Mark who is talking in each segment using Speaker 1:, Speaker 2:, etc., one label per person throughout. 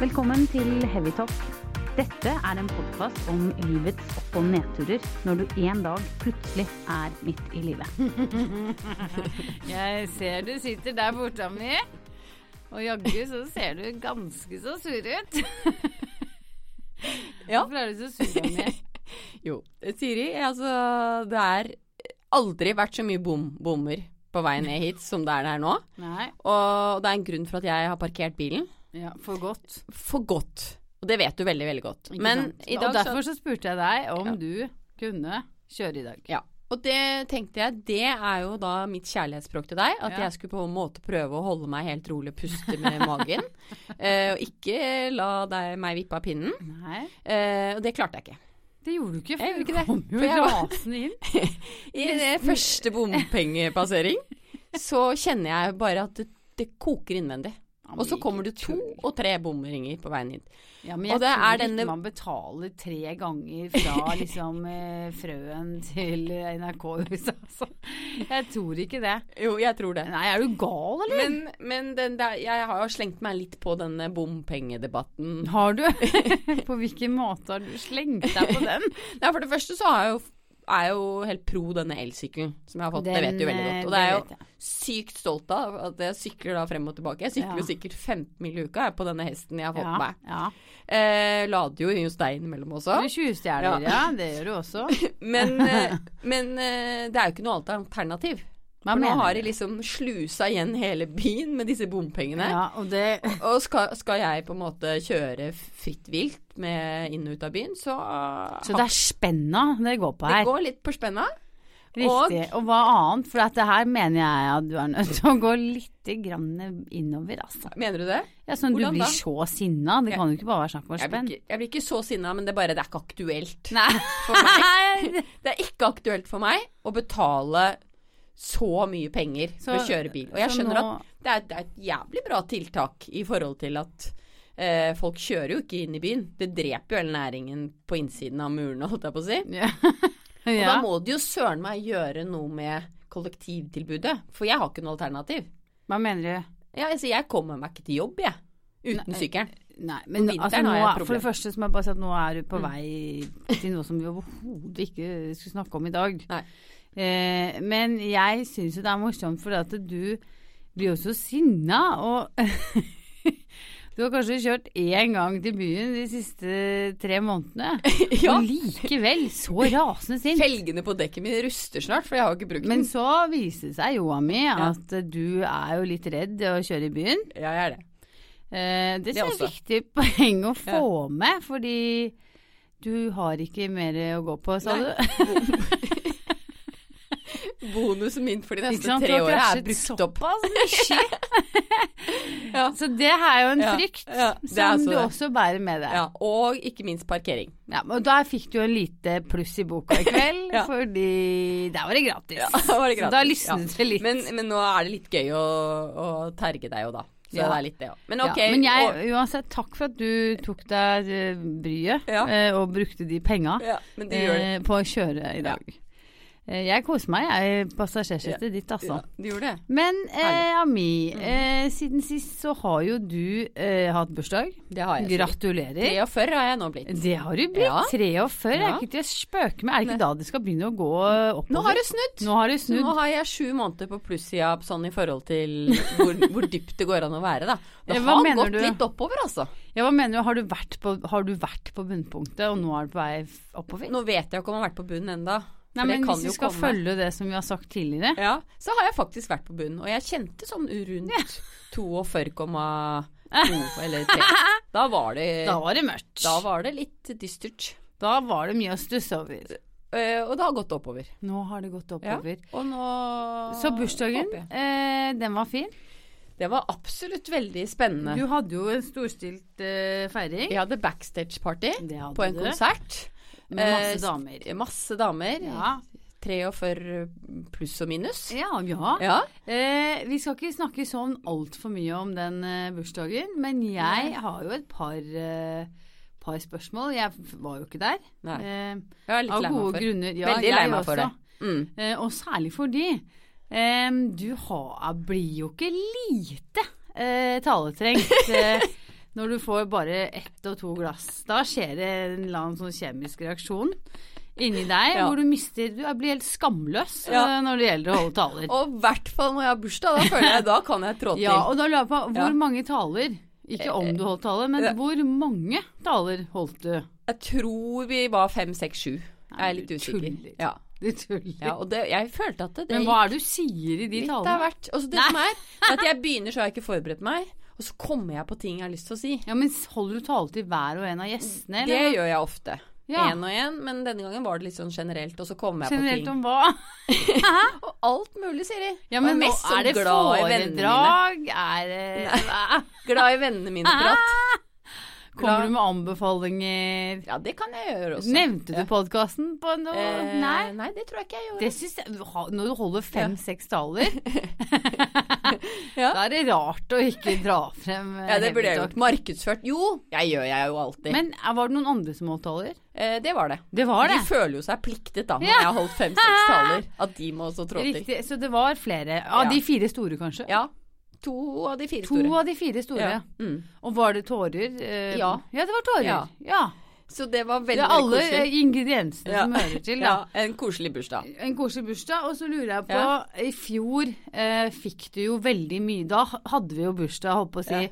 Speaker 1: Velkommen til Heavytalk. Dette er en podkast om livets opp- og nedturer når du en dag plutselig er midt i livet.
Speaker 2: Jeg ser du sitter der borte, mi. Og jaggu så ser du ganske så sur ut.
Speaker 3: Ja.
Speaker 2: Hvorfor er du så sur, Ami?
Speaker 3: Jo, Siri, altså det er aldri vært så mye bom bommer på vei ned hit som det er her nå.
Speaker 2: Nei.
Speaker 3: Og det er en grunn for at jeg har parkert bilen.
Speaker 2: Ja, for godt.
Speaker 3: For godt. Og det vet du veldig, veldig godt.
Speaker 2: Ikke
Speaker 3: Men
Speaker 2: sant?
Speaker 3: i dag
Speaker 2: Og derfor
Speaker 3: så
Speaker 2: så spurte jeg deg om
Speaker 3: Ja.
Speaker 2: du kunne kjøre i dag.
Speaker 3: Ja. Og det tenkte jeg, det er jo da mitt kjærlighetsspråk til deg. At
Speaker 2: Ja.
Speaker 3: jeg skulle på en måte prøve å holde meg helt rolig, puste med magen. eh, og ikke la deg, meg vippe av pinnen.
Speaker 2: Nei,
Speaker 3: Eh, og det klarte jeg ikke.
Speaker 2: det gjorde du ikke.
Speaker 3: Jeg
Speaker 2: For
Speaker 3: gjorde
Speaker 2: du
Speaker 3: ikke det,
Speaker 2: kom jo
Speaker 3: for jeg var-
Speaker 2: rasende inn.
Speaker 3: I det første bompengepassering så kjenner jeg bare at det, det koker innvendig. Og så kommer det to og tre bomringer på veien hit.
Speaker 2: Ja, men
Speaker 3: Og
Speaker 2: jeg
Speaker 3: det
Speaker 2: tror
Speaker 3: er
Speaker 2: ikke
Speaker 3: denne-
Speaker 2: man betaler tre ganger fra liksom eh, Frøen til eh, NRK-huset, altså. Jeg tror ikke det.
Speaker 3: Jo, jeg tror det.
Speaker 2: Nei, er du gal, eller?
Speaker 3: Men, men den der, jeg har jo slengt meg litt på denne bompengedebatten.
Speaker 2: Har du? på hvilken måte har du slengt deg på den?
Speaker 3: Nei, for det første så har jeg jo, er jeg jo helt pro denne elsykkelen som jeg har fått. det vet du veldig godt. Og eh, det er jo sykt stolt av at jeg sykler da frem og tilbake. Jeg sykler
Speaker 2: Ja.
Speaker 3: jo sikkert 15 mil i uka jeg, på denne hesten jeg har fått
Speaker 2: ja,
Speaker 3: meg.
Speaker 2: ja.
Speaker 3: Eh, lader jo hos deg innimellom også.
Speaker 2: Du tjuvstjeler, ja. Det gjør du også.
Speaker 3: Men, eh, men eh, det er jo ikke noe annet alternativ.
Speaker 2: Hva
Speaker 3: For nå
Speaker 2: mener
Speaker 3: har
Speaker 2: du?
Speaker 3: de liksom slusa igjen hele byen med disse bompengene.
Speaker 2: Ja, og det
Speaker 3: Og skal, skal jeg på en måte kjøre fritt vilt med inn og ut av byen, så
Speaker 2: Så det er spenna det går på
Speaker 3: Det
Speaker 2: her.
Speaker 3: går litt på spenna.
Speaker 2: Riktig. Og hva annet? For at det her mener jeg at du er nødt til å gå litt grann innover, altså.
Speaker 3: Mener du det?
Speaker 2: Ja, sånn du
Speaker 3: Hvordan da?
Speaker 2: blir så sinna. Det kan jo ikke bare være snakk om å
Speaker 3: Jeg blir,
Speaker 2: spenn.
Speaker 3: ikke, jeg blir ikke så sinna, men det er bare det er ikke aktuelt.
Speaker 2: Nei.
Speaker 3: For meg, det er ikke aktuelt for meg å betale så mye penger for å
Speaker 2: Så-
Speaker 3: kjøre bil. Og jeg
Speaker 2: så
Speaker 3: skjønner
Speaker 2: nå-
Speaker 3: at det er, det er et jævlig bra tiltak i forhold til at eh, folk kjører jo ikke inn i byen. Det dreper jo hele næringen på innsiden av murene, holdt jeg på å si.
Speaker 2: Ja.
Speaker 3: Og
Speaker 2: ja.
Speaker 3: da må de jo søren meg gjøre noe med kollektivtilbudet, for jeg har ikke noe alternativ.
Speaker 2: Hva mener du?
Speaker 3: Ja, altså, jeg kommer meg ikke til jobb, jeg. Uten sykkelen.
Speaker 2: Nei, men
Speaker 3: vinteren
Speaker 2: altså, nå,
Speaker 3: har jeg
Speaker 2: er-
Speaker 3: et
Speaker 2: for det
Speaker 3: problem. Mm.
Speaker 2: første så må jeg bare si at nå er du på vei til noe som vi overhodet ikke skulle snakke om i dag.
Speaker 3: Nei.
Speaker 2: Eh, men jeg syns jo det er morsomt, for at du blir jo så sinna, og Du har kanskje kjørt én gang til byen de siste tre månedene,
Speaker 3: Ja.
Speaker 2: og likevel så rasende sint.
Speaker 3: Felgene på dekket mitt ruster snart, for jeg har jo ikke brukt
Speaker 2: Men
Speaker 3: den.
Speaker 2: så viser det seg, Joa mi, at du er jo litt redd å kjøre i byen.
Speaker 3: Ja, jeg er det.
Speaker 2: Eh, det
Speaker 3: Det
Speaker 2: er et
Speaker 3: også.
Speaker 2: viktig poeng å få med, fordi du har ikke mer å gå på, sa
Speaker 3: Nei,
Speaker 2: du.
Speaker 3: Bonusen min for de
Speaker 2: Ikke
Speaker 3: neste
Speaker 2: sant? Du
Speaker 3: tre
Speaker 2: har
Speaker 3: åra er
Speaker 2: krasjet
Speaker 3: brukt opp.
Speaker 2: Så det er jo en
Speaker 3: Ja,
Speaker 2: frykt
Speaker 3: ja, det er
Speaker 2: som
Speaker 3: så
Speaker 2: du
Speaker 3: det.
Speaker 2: også bærer med deg. Ja.
Speaker 3: Ja, og ikke minst parkering.
Speaker 2: men da fikk du jo en lite pluss i boka i kveld,
Speaker 3: Ja.
Speaker 2: fordi der var det gratis.
Speaker 3: Da var det
Speaker 2: Så
Speaker 3: gratis.
Speaker 2: da lysnet det litt.
Speaker 3: Men, men nå er det litt gøy å, å terge deg jo, da. Så
Speaker 2: Ja.
Speaker 3: det er litt det òg. Men ok.
Speaker 2: ja, men
Speaker 3: og,
Speaker 2: jeg, uansett, takk for at du tok deg eh, bryet
Speaker 3: Ja.
Speaker 2: eh, og brukte de penga
Speaker 3: ja, men det gjør det.
Speaker 2: eh, på å kjøre i
Speaker 3: Ja.
Speaker 2: dag. Eh, jeg koser meg, jeg, i passasjersetet ditt, altså.
Speaker 3: Ja, du gjorde det.
Speaker 2: Men eh,
Speaker 3: Mm.
Speaker 2: Ami, eh, siden sist så har jo du eh, hatt bursdag.
Speaker 3: Det har jeg. Gratt.
Speaker 2: Gratulerer.
Speaker 3: 43 har jeg nå blitt.
Speaker 2: Det har du blitt.
Speaker 3: Ja.
Speaker 2: 43 er
Speaker 3: Ja.
Speaker 2: ikke til å spøke med. Er det ikke da det skal begynne å gå oppover?
Speaker 3: Nå har du snudd!
Speaker 2: Nå har du
Speaker 3: Så
Speaker 2: snudd.
Speaker 3: nå har jeg sju måneder på plussida sånn i forhold til hvor, hvor dypt det går an å være, da. Det
Speaker 2: Eh, hva
Speaker 3: har
Speaker 2: mener
Speaker 3: gått
Speaker 2: du?
Speaker 3: litt oppover, altså.
Speaker 2: Ja, hva mener du? Har du vært på, har du vært på bunnpunktet, og nå er du på vei f- oppover?
Speaker 3: Nå vet jeg ikke om jeg har vært på bunnen enda. for
Speaker 2: Nei,
Speaker 3: det
Speaker 2: men
Speaker 3: kan
Speaker 2: Hvis
Speaker 3: jo
Speaker 2: vi skal
Speaker 3: komme.
Speaker 2: følge det som vi har sagt tidligere
Speaker 3: Ja, så har jeg faktisk vært på bunnen, og jeg kjente sånn rundt 42,2 eller 3. Da var det
Speaker 2: Da var det mørkt.
Speaker 3: Da var det litt dystert.
Speaker 2: Da var det mye å stusse over.
Speaker 3: Eh, og det har gått oppover.
Speaker 2: Nå har det gått
Speaker 3: Ja.
Speaker 2: oppover.
Speaker 3: Og nå
Speaker 2: Så bursdagen,
Speaker 3: håper jeg.
Speaker 2: eh, den var fin.
Speaker 3: Det var absolutt veldig spennende.
Speaker 2: Du hadde jo en storstilt eh, feiring.
Speaker 3: Jeg hadde backstage-party
Speaker 2: Det hadde
Speaker 3: på en
Speaker 2: du.
Speaker 3: konsert.
Speaker 2: Med masse
Speaker 3: Eh,
Speaker 2: damer.
Speaker 3: Masse damer.
Speaker 2: Ja.
Speaker 3: 43 eh, pluss og minus.
Speaker 2: Ja, ja.
Speaker 3: Ja.
Speaker 2: Eh, vi skal ikke snakke sånn altfor mye om den eh, bursdagen, men jeg har jo et par, eh, par spørsmål. Jeg f- var jo ikke der.
Speaker 3: Nei.
Speaker 2: Eh,
Speaker 3: Jeg er litt
Speaker 2: av
Speaker 3: lei meg
Speaker 2: gode
Speaker 3: for
Speaker 2: grunner. Ja,
Speaker 3: Veldig
Speaker 2: jeg
Speaker 3: lei meg for
Speaker 2: også.
Speaker 3: det. Mm.
Speaker 2: Eh, og særlig fordi eh, du har, blir jo ikke lite eh, taletrengt eh, Når du får bare ett og to glass, da skjer det en eller annen sånn kjemisk reaksjon inni deg
Speaker 3: Ja.
Speaker 2: hvor du mister Du er- blir helt skamløs
Speaker 3: Ja.
Speaker 2: eh, når det gjelder å holde taler.
Speaker 3: Og i hvert fall når jeg har bursdag, da føler jeg da kan jeg trå til.
Speaker 2: ja, Eh, og da lurer jeg på hvor
Speaker 3: Ja.
Speaker 2: mange taler Ikke om du holdt tale, men
Speaker 3: Ja.
Speaker 2: hvor mange taler holdt du?
Speaker 3: Jeg tror vi var fem, seks, sju. Jeg er
Speaker 2: Nei,
Speaker 3: litt
Speaker 2: du
Speaker 3: usikker.
Speaker 2: tuller.
Speaker 3: Ja.
Speaker 2: Du tuller.
Speaker 3: ja, og det, jeg følte at det, det
Speaker 2: men hva er det du sier i de
Speaker 3: litt
Speaker 2: talene?
Speaker 3: av hvert. Og så det som er, er at jeg begynner så har jeg ikke forberedt meg, og så kommer jeg på ting jeg har lyst til å si.
Speaker 2: Ja, men Holder du tale til hver og en av gjestene?
Speaker 3: Det
Speaker 2: Eller?
Speaker 3: gjør jeg ofte.
Speaker 2: Ja.
Speaker 3: Én og én, men denne gangen var det litt sånn generelt, og så kommer jeg
Speaker 2: Generelt
Speaker 3: på ting.
Speaker 2: om hva?
Speaker 3: Og alt mulig, Siri.
Speaker 2: Ja,
Speaker 3: Og
Speaker 2: men nå
Speaker 3: mest sånn
Speaker 2: er det
Speaker 3: glad i vennene mine.
Speaker 2: foredrag? Er det Hva?
Speaker 3: Glad i vennene mine-prat.
Speaker 2: Kommer du med anbefalinger?
Speaker 3: Ja, det kan jeg gjøre også.
Speaker 2: Nevnte du podkasten på noe?
Speaker 3: Eh,
Speaker 2: Nei.
Speaker 3: nei, det tror jeg ikke jeg gjorde.
Speaker 2: Det synes jeg, du har- Når du holder fem-seks taler,
Speaker 3: Ja.
Speaker 2: da er det rart å ikke dra frem eh,
Speaker 3: Ja, det burde jeg
Speaker 2: Heavy Talk.
Speaker 3: gjort. Markedsført. Jo, jeg gjør jeg jo alltid.
Speaker 2: Men eh, var det noen andre som holdt taler?
Speaker 3: eh, det var det.
Speaker 2: Det var det.
Speaker 3: De føler jo seg pliktet da, når
Speaker 2: Ja.
Speaker 3: jeg har holdt fem-seks taler, at de må også trå til.
Speaker 2: Riktig. Så det var flere. Av
Speaker 3: Ja.
Speaker 2: de fire store, kanskje?
Speaker 3: Ja. To av de fire
Speaker 2: To
Speaker 3: store.
Speaker 2: av de fire store.
Speaker 3: Ja. Mm.
Speaker 2: Og var det tårer? Eh,
Speaker 3: Ja.
Speaker 2: ja, det var tårer. Ja.
Speaker 3: Ja. Så det var
Speaker 2: Det
Speaker 3: veldig
Speaker 2: er alle eh,
Speaker 3: koselig.
Speaker 2: ingrediensene
Speaker 3: Ja.
Speaker 2: som hører til, da.
Speaker 3: Ja, en koselig bursdag.
Speaker 2: En koselig bursdag. Og så lurer jeg på
Speaker 3: Ja.
Speaker 2: I fjor eh, fikk du jo veldig mye Da hadde vi jo bursdag, holdt på å si.
Speaker 3: Ja.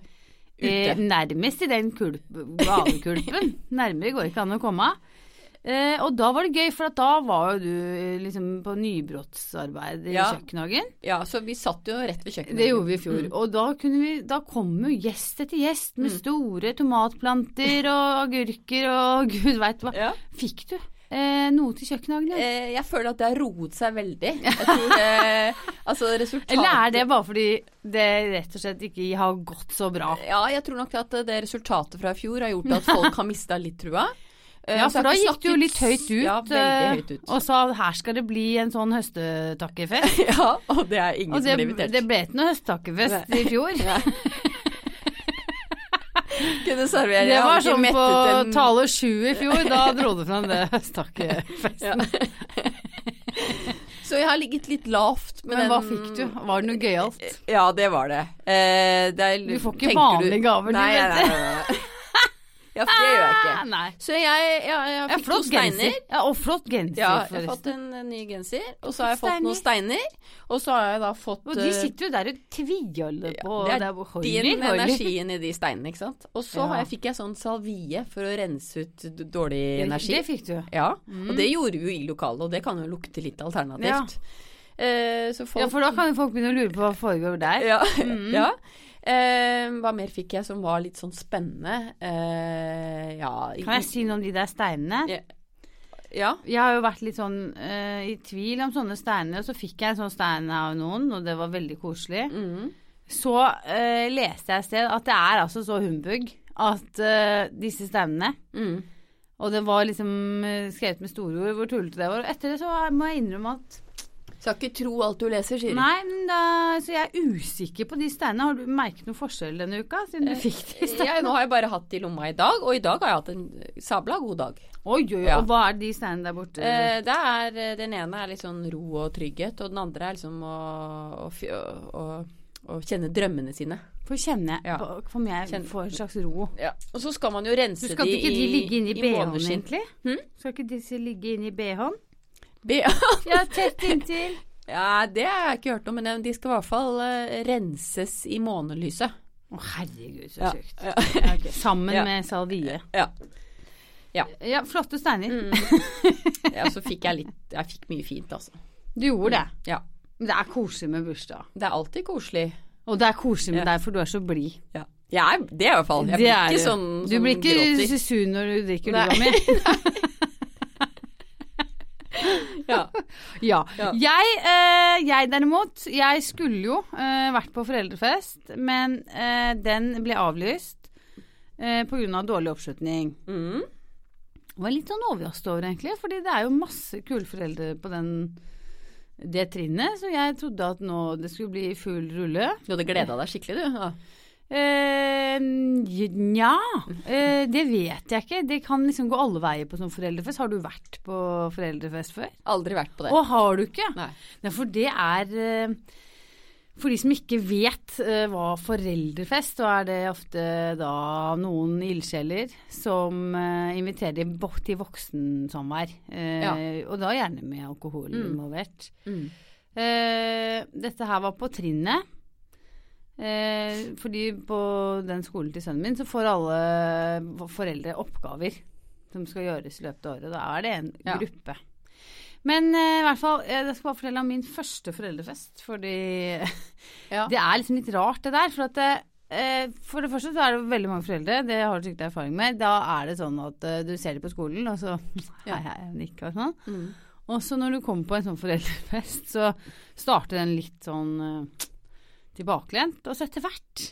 Speaker 2: Eh,
Speaker 3: Ute.
Speaker 2: nærmest i den kulp, gavekulpen. Nærmere går ikke an å komme. Eh, og da var det gøy, for at da var jo du eh, liksom på nybrottsarbeid i
Speaker 3: Ja.
Speaker 2: kjøkkenhagen.
Speaker 3: Ja, så vi satt jo rett ved kjøkkenet.
Speaker 2: Det gjorde vi i fjor.
Speaker 3: Mm.
Speaker 2: Og da, kunne vi, da kom jo gjest etter gjest med store tomatplanter og agurker og gud veit hva.
Speaker 3: Ja.
Speaker 2: Fikk du eh, noe til kjøkkenhagen? eller?
Speaker 3: Eh, jeg føler at det har roet seg veldig. Jeg tror eh, Altså, resultatet
Speaker 2: Eller er det bare fordi det rett og slett ikke har gått så bra?
Speaker 3: Ja, jeg tror nok at det resultatet fra i fjor har gjort at folk har mista litt trua. Eh,
Speaker 2: Ja,
Speaker 3: og så
Speaker 2: for
Speaker 3: har
Speaker 2: da
Speaker 3: jeg ikke
Speaker 2: gikk du jo
Speaker 3: snakket-
Speaker 2: litt høyt ut,
Speaker 3: Ja,
Speaker 2: eh,
Speaker 3: veldig høyt ut.
Speaker 2: og sa her skal det bli en sånn høstetakkefest.
Speaker 3: ja, og det er ingen
Speaker 2: Og det,
Speaker 3: som blir invitert.
Speaker 2: det ble ikke noe høsttakkefest i fjor.
Speaker 3: kunne servere.
Speaker 2: Det
Speaker 3: jeg
Speaker 2: var
Speaker 3: hadde ikke
Speaker 2: sånn på
Speaker 3: mettet en-
Speaker 2: tale sju i fjor, da dro du fram det høsttakkefest.
Speaker 3: Ja. Så jeg har ligget litt lavt med
Speaker 2: Men
Speaker 3: den Eh,
Speaker 2: hva fikk du? Var det noe gøyalt?
Speaker 3: Ja, det var det. Eh, det er,
Speaker 2: Du får ikke
Speaker 3: tenker
Speaker 2: vanlige gaver, du,
Speaker 3: nei,
Speaker 2: vet
Speaker 3: nei, nei, nei, nei. Ja, for det gjør jeg
Speaker 2: Ah,
Speaker 3: ikke.
Speaker 2: Nei.
Speaker 3: Så jeg, jeg, jeg
Speaker 2: Ja,
Speaker 3: fikk noen
Speaker 2: flott
Speaker 3: steiner.
Speaker 2: genser. Ja, og flott genser,
Speaker 3: Ja, jeg har
Speaker 2: forresten.
Speaker 3: fått en eh, ny genser, og så har jeg fått noen steiner. Og så har jeg da fått
Speaker 2: Og de
Speaker 3: eh,
Speaker 2: sitter jo der og tviholder på
Speaker 3: det er
Speaker 2: der hvor
Speaker 3: din
Speaker 2: Hoiler, Hoiler.
Speaker 3: energien i de steinene, ikke sant. Og så
Speaker 2: Ja.
Speaker 3: har jeg, fikk jeg sånn salvie for å rense ut d- dårlig energi.
Speaker 2: Det fikk du.
Speaker 3: Ja, og det gjorde vi jo i lokalet, og det kan jo lukte litt alternativt. Eh, så folk
Speaker 2: Ja, for da kan jo folk begynne å lure på hva foregår der.
Speaker 3: Ja. ja. Eh, hva mer fikk jeg som var litt sånn spennende? Eh, ja
Speaker 2: Kan jeg si noe om de der steinene?
Speaker 3: Ja.
Speaker 2: Jeg har jo vært litt sånn eh, i tvil om sånne steiner, og så fikk jeg en sånn stein av noen, og det var veldig koselig.
Speaker 3: Mhm.
Speaker 2: Så eh, leste jeg et sted at det er altså så humbug at eh, disse steinene
Speaker 3: Mhm.
Speaker 2: Og det var liksom eh, skrevet med store ord hvor tullete det var. Og etter det så må jeg innrømme at
Speaker 3: Skal ikke tro alt du leser, sier
Speaker 2: Nei, men da, så jeg er usikker på de steinene. Har du merket noe forskjell denne uka,
Speaker 3: Eh,
Speaker 2: siden du fikk de steinene?
Speaker 3: Ja, nå har jeg bare hatt de i lomma i dag, og i dag har jeg hatt en sabla god dag.
Speaker 2: Oi, oi, oi.
Speaker 3: Ja.
Speaker 2: Og hva er de steinene der borte?
Speaker 3: Eh, det er, eh, den ene er litt sånn ro og trygghet, og den andre er liksom å, å, fj- å, å, å kjenne drømmene sine.
Speaker 2: For kjenner jeg
Speaker 3: ja.
Speaker 2: på- Om jeg
Speaker 3: Kjenn-
Speaker 2: får en slags ro.
Speaker 3: Og så skal man jo rense
Speaker 2: Du
Speaker 3: de
Speaker 2: skal ikke de ligge inni BH-en,
Speaker 3: måneskinn. Hm?
Speaker 2: egentlig? Skal ikke disse ligge inni BH-en?
Speaker 3: BH?
Speaker 2: Ja, tett inntil.
Speaker 3: Ja, det har jeg ikke hørt om, men de skal i hvert fall eh, renses i månelyset.
Speaker 2: Å, herregud, så
Speaker 3: Ja.
Speaker 2: sjukt.
Speaker 3: Ja.
Speaker 2: Ja, ok. Sammen
Speaker 3: Ja.
Speaker 2: med salvie.
Speaker 3: Ja.
Speaker 2: Ja, flotte steiner.
Speaker 3: Mm. ja, så fikk jeg litt Jeg fikk mye fint, altså.
Speaker 2: Du gjorde det.
Speaker 3: Ja.
Speaker 2: Men Det er koselig med bursdag.
Speaker 3: Det er alltid koselig.
Speaker 2: Og det er koselig med
Speaker 3: Ja.
Speaker 2: deg, for du er så blid.
Speaker 3: Ja. Jeg er det i hvert fall. Jeg
Speaker 2: Det
Speaker 3: blir
Speaker 2: er
Speaker 3: ikke
Speaker 2: du.
Speaker 3: sånn
Speaker 2: Du
Speaker 3: som
Speaker 2: blir ikke
Speaker 3: gråter.
Speaker 2: sur når du drikker
Speaker 3: Nei.
Speaker 2: lua mi.
Speaker 3: Ja.
Speaker 2: Ja.
Speaker 3: Ja.
Speaker 2: Jeg, eh, jeg derimot, jeg skulle jo eh, vært på foreldrefest, men eh, den ble avlyst eh, på grunn av dårlig oppslutning.
Speaker 3: Mm.
Speaker 2: Jeg var litt sånn overrasket over, egentlig, fordi det er jo masse kule foreldre på den, det trinnet, så jeg trodde at nå det skulle bli full rulle.
Speaker 3: Du hadde gleda deg skikkelig, du. Ja.
Speaker 2: Eh, Nja, eh, det vet jeg ikke. Det kan liksom gå alle veier på sånn foreldrefest. Har du vært på foreldrefest før?
Speaker 3: Aldri vært på det.
Speaker 2: Å, har du ikke?
Speaker 3: Nei.
Speaker 2: Nei, for det er eh, For de som ikke vet eh, hva foreldrefest, så er det ofte da noen ildsjeler som eh, inviterer de bo- til voksensamvær. Eh, Og da gjerne med alkohol
Speaker 3: Mm.
Speaker 2: involvert.
Speaker 3: Mm.
Speaker 2: Eh, dette her var på trinnet. Eh, fordi på den skolen til sønnen min så får alle v- foreldre oppgaver som skal gjøres i løpet av året. Da er det en
Speaker 3: Ja.
Speaker 2: gruppe. Men eh, i hvert fall, eh, jeg skal bare fortelle om min første foreldrefest. Fordi
Speaker 3: Ja.
Speaker 2: det er liksom litt rart det der. For, at, det, eh, for det første så er det veldig mange foreldre, det har du sikkert erfaring med. Da er det sånn at eh, du ser dem på skolen, og så
Speaker 3: Ja.
Speaker 2: hei, hei, nikke og sånn.
Speaker 3: Mm.
Speaker 2: Og så når du kommer på en sånn foreldrefest, så starter den litt sånn eh, tilbakelent. Og så etter hvert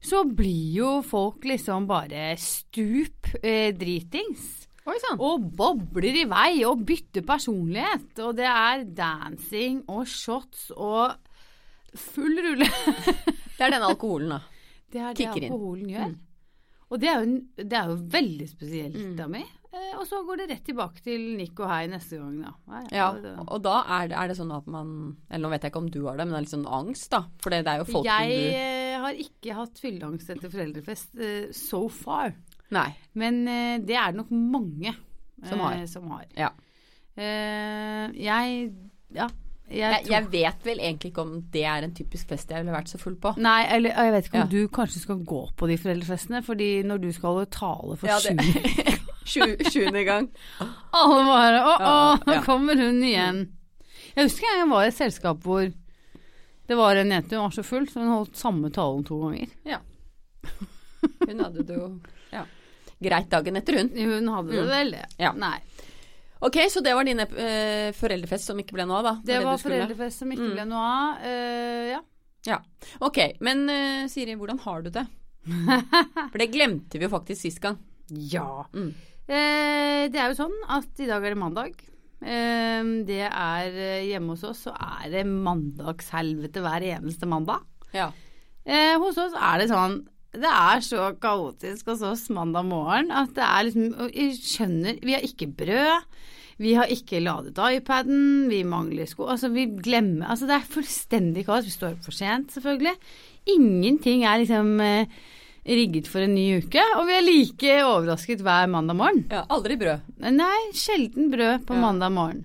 Speaker 2: så blir jo folk liksom bare stup eh, dritings.
Speaker 3: Oi sann.
Speaker 2: Og bobler i vei og bytter personlighet. Og det er dancing og shots og full rulle.
Speaker 3: Det er den alkoholen, da.
Speaker 2: Det er det
Speaker 3: Kicker inn.
Speaker 2: alkoholen gjør. Mm. Og det er jo, en- det er jo veldig spesielt
Speaker 3: Mm.
Speaker 2: av meg. Eh, og så går det rett tilbake til Nick og hei neste gang, da. Hei,
Speaker 3: Ja,
Speaker 2: hei, da.
Speaker 3: og da er det, er det sånn at man Eller nå vet jeg ikke om du har det, men det er litt sånn angst, da. For det, det er jo folk
Speaker 2: Jeg
Speaker 3: som
Speaker 2: eh, har ikke hatt fylleangst etter foreldrefest eh, so far.
Speaker 3: du Nei.
Speaker 2: Men eh, det er det nok mange
Speaker 3: Som har.
Speaker 2: eh, Som har.
Speaker 3: Ja.
Speaker 2: Eh, jeg ja. Jeg,
Speaker 3: Jeg,
Speaker 2: tror
Speaker 3: jeg vet vel egentlig ikke om det er en typisk fest jeg ville vært så full på.
Speaker 2: Nei, eller jeg vet ikke om
Speaker 3: Ja.
Speaker 2: du kanskje skal gå på de foreldrefestene. Fordi når du skal tale for
Speaker 3: Ja, det-
Speaker 2: sjuende
Speaker 3: Sju- Sjuende gang.
Speaker 2: Alle bare Å, å,
Speaker 3: Ja,
Speaker 2: nå
Speaker 3: ja.
Speaker 2: kommer hun igjen. Jeg husker en gang jeg var i et selskap hvor det var en jente, hun var så full, så hun holdt samme talen to ganger.
Speaker 3: Hun hadde det jo ja. greit dagen etter, hun.
Speaker 2: Hun hadde det
Speaker 3: Mm.
Speaker 2: vel, det.
Speaker 3: Ja.
Speaker 2: Nei.
Speaker 3: Ok, så det var din eh, foreldrefest som ikke ble noe av, da.
Speaker 2: Det var
Speaker 3: du skulle.
Speaker 2: foreldrefest som ikke
Speaker 3: Mm.
Speaker 2: ble noe av. eh, ja.
Speaker 3: Ok, men eh, Siri, hvordan har du det? For det glemte vi jo faktisk sist gang. Mm.
Speaker 2: Eh, det er jo sånn at i dag er det mandag. Eh, det er eh, hjemme hos oss så er det mandagshelvete hver eneste mandag.
Speaker 3: Ja.
Speaker 2: Eh, hos oss er det sånn Det er så kaotisk hos oss mandag morgen at det er liksom og Jeg skjønner Vi har ikke brød. Vi har ikke ladet iPaden, vi mangler sko Altså, vi glemmer Altså, det er fullstendig kaos. Vi står opp for sent, selvfølgelig. Ingenting er liksom eh, rigget for en ny uke, og vi er like overrasket hver mandag morgen.
Speaker 3: ja. Aldri brød.
Speaker 2: Nei, sjelden brød på
Speaker 3: Ja.
Speaker 2: mandag morgen.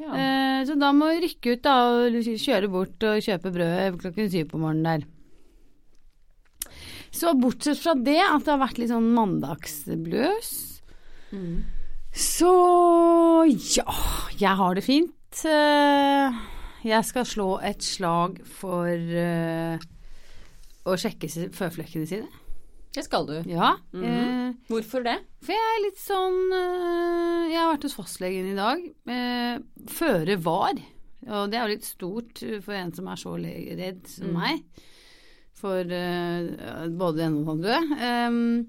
Speaker 2: Eh, så da må vi rykke ut da, og kjøre bort og kjøpe brød klokken syv på morgenen der. Så bortsett fra det, at det har vært litt sånn mandagsblues,
Speaker 3: Mm.
Speaker 2: så ja, jeg har det fint. Eh, Jeg skal slå et slag for eh, å sjekke si- føflekkene sine.
Speaker 3: Det skal du.
Speaker 2: Ja.
Speaker 3: Mhm.
Speaker 2: eh,
Speaker 3: Hvorfor det?
Speaker 2: for jeg er litt sånn eh, Jeg har vært hos fastlegen i dag. eh, Føre var. Og det er jo litt stort eh, for en som er så le- redd som
Speaker 3: Mm.
Speaker 2: meg. For eh, både det ene og det andre. Um,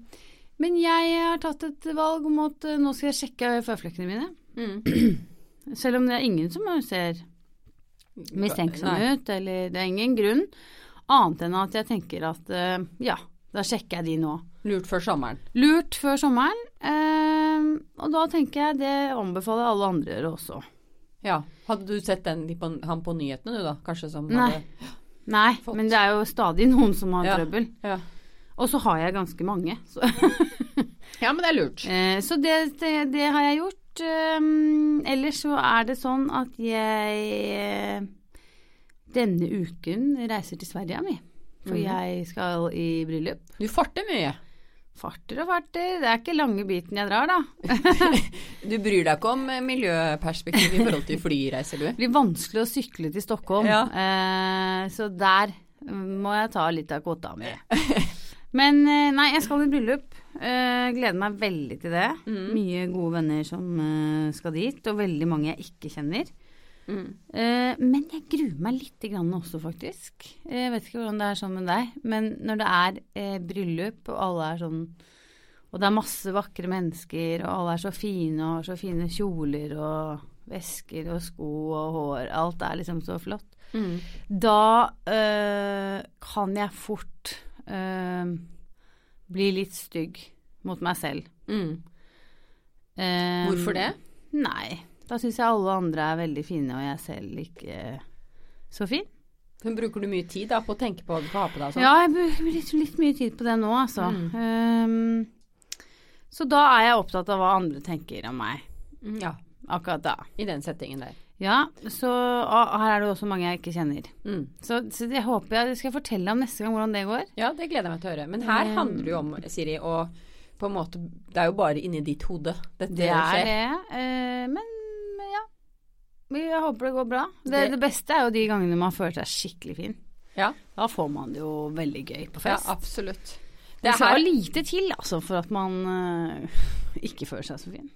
Speaker 2: men jeg har tatt et valg om at eh, nå skal jeg sjekke føflekkene mine.
Speaker 3: Mm.
Speaker 2: Selv om det er ingen som ser mistenksom
Speaker 3: Nei.
Speaker 2: ut, eller det er ingen grunn. Annet enn at jeg tenker at eh, ja, da sjekker jeg de nå.
Speaker 3: Lurt før sommeren.
Speaker 2: Lurt før sommeren. ehm, og da tenker jeg det anbefaler alle andre å gjøre også.
Speaker 3: Ja. Hadde du sett den, de på, han på nyhetene du, da? Kanskje som
Speaker 2: Nei.
Speaker 3: hadde-
Speaker 2: Nei,
Speaker 3: Fått.
Speaker 2: men det er jo stadig noen som har
Speaker 3: Ja.
Speaker 2: trøbbel.
Speaker 3: Ja.
Speaker 2: Og så har jeg ganske mange. Så,
Speaker 3: ja, men det er lurt.
Speaker 2: eh, så det, det, det har jeg gjort. Ehm, ellers så er det sånn at jeg eh, denne uken reiser til Sverige, mi. For
Speaker 3: Mhm.
Speaker 2: jeg skal i bryllup.
Speaker 3: Du farter mye.
Speaker 2: Farter og farter. Det er ikke lange biten jeg drar, da.
Speaker 3: Du bryr deg ikke om eh, miljøperspektiv i forhold til flyreiser, du?
Speaker 2: Det blir vanskelig å sykle til Stockholm,
Speaker 3: Ja.
Speaker 2: eh, så der må jeg ta litt av kvota mi. Men eh, nei, jeg skal i bryllup. Eh, gleder meg veldig til det. Mye gode venner som eh, skal dit, og veldig mange jeg ikke kjenner.
Speaker 3: Mm.
Speaker 2: Eh, men jeg gruer meg litt grann også, faktisk. Eh, Jeg vet ikke hvordan det er sånn med deg, men når det er eh, bryllup, og alle er sånn Og det er masse vakre mennesker, og alle er så fine, og har så fine kjoler og vesker og sko og hår Alt er liksom så flott.
Speaker 3: Mm.
Speaker 2: Da eh, kan jeg fort eh, bli litt stygg mot meg selv.
Speaker 3: Mm.
Speaker 2: Eh,
Speaker 3: Hvorfor det?
Speaker 2: Nei. Da syns jeg alle andre er veldig fine, og jeg selv ikke eh, så fin.
Speaker 3: Men bruker du mye tid da på å tenke på hva du får ha på deg og sånn?
Speaker 2: Ja, jeg bruker litt, litt mye tid på det nå, altså.
Speaker 3: Mm.
Speaker 2: Ehm, så da er jeg opptatt av hva andre tenker om meg
Speaker 3: Mm, ja.
Speaker 2: akkurat da.
Speaker 3: I den settingen der.
Speaker 2: Ja, så og her er det jo også mange jeg ikke kjenner.
Speaker 3: Mm.
Speaker 2: Så, så det håper jeg det skal jeg fortelle om neste gang hvordan det går.
Speaker 3: Ja, det gleder jeg meg til å høre. Men her handler det jo om, Siri, å på en måte Det er jo bare inni ditt hode dette
Speaker 2: Det er
Speaker 3: skjer.
Speaker 2: det. eh, men ja. Jeg håper det går bra. Det, det,
Speaker 3: Det-
Speaker 2: beste er jo de gangene man føler seg skikkelig fin.
Speaker 3: Ja,
Speaker 2: Da får man det jo veldig gøy på
Speaker 3: ja,
Speaker 2: fest.
Speaker 3: absolutt.
Speaker 2: det
Speaker 3: Det er
Speaker 2: skal
Speaker 3: her
Speaker 2: lite til altså, for at man eh, ikke føler seg så fin.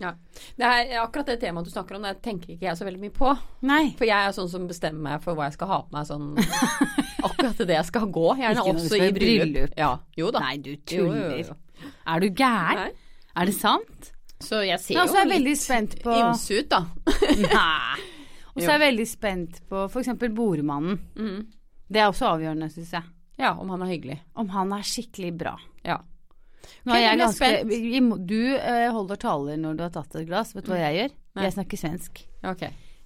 Speaker 3: Ja. Det er akkurat det temaet du snakker om, det tenker ikke jeg så veldig mye på.
Speaker 2: Nei.
Speaker 3: For jeg er sånn som bestemmer meg for hva jeg skal ha på meg sånn Akkurat det jeg skal gå. Gjerne
Speaker 2: Ikke når du
Speaker 3: også
Speaker 2: skal
Speaker 3: i
Speaker 2: i
Speaker 3: bryllup.
Speaker 2: bryllup.
Speaker 3: Ja, jo da.
Speaker 2: Nei, du
Speaker 3: Jo, jo,
Speaker 2: tuller.
Speaker 3: jo, jo.
Speaker 2: Er du gæren?
Speaker 3: Nei.
Speaker 2: Er det sant?
Speaker 3: Så jeg ser
Speaker 2: Nei,
Speaker 3: jo
Speaker 2: også er jeg
Speaker 3: litt
Speaker 2: veldig spent på
Speaker 3: ymse ut, da.
Speaker 2: Nei. Og så
Speaker 3: Jo.
Speaker 2: er jeg veldig spent på f.eks. bordmannen.
Speaker 3: Mhm.
Speaker 2: Det er også avgjørende, syns jeg.
Speaker 3: Ja, om han er hyggelig.
Speaker 2: Om han er skikkelig bra.
Speaker 3: Ja.
Speaker 2: Nå
Speaker 3: Ok,
Speaker 2: er jeg
Speaker 3: nå er jeg
Speaker 2: ganske, vi må- du eh, holder taler når du har tatt et glass. Vet du hva jeg gjør?
Speaker 3: Mm. Nei.
Speaker 2: Jeg snakker svensk.
Speaker 3: Ok.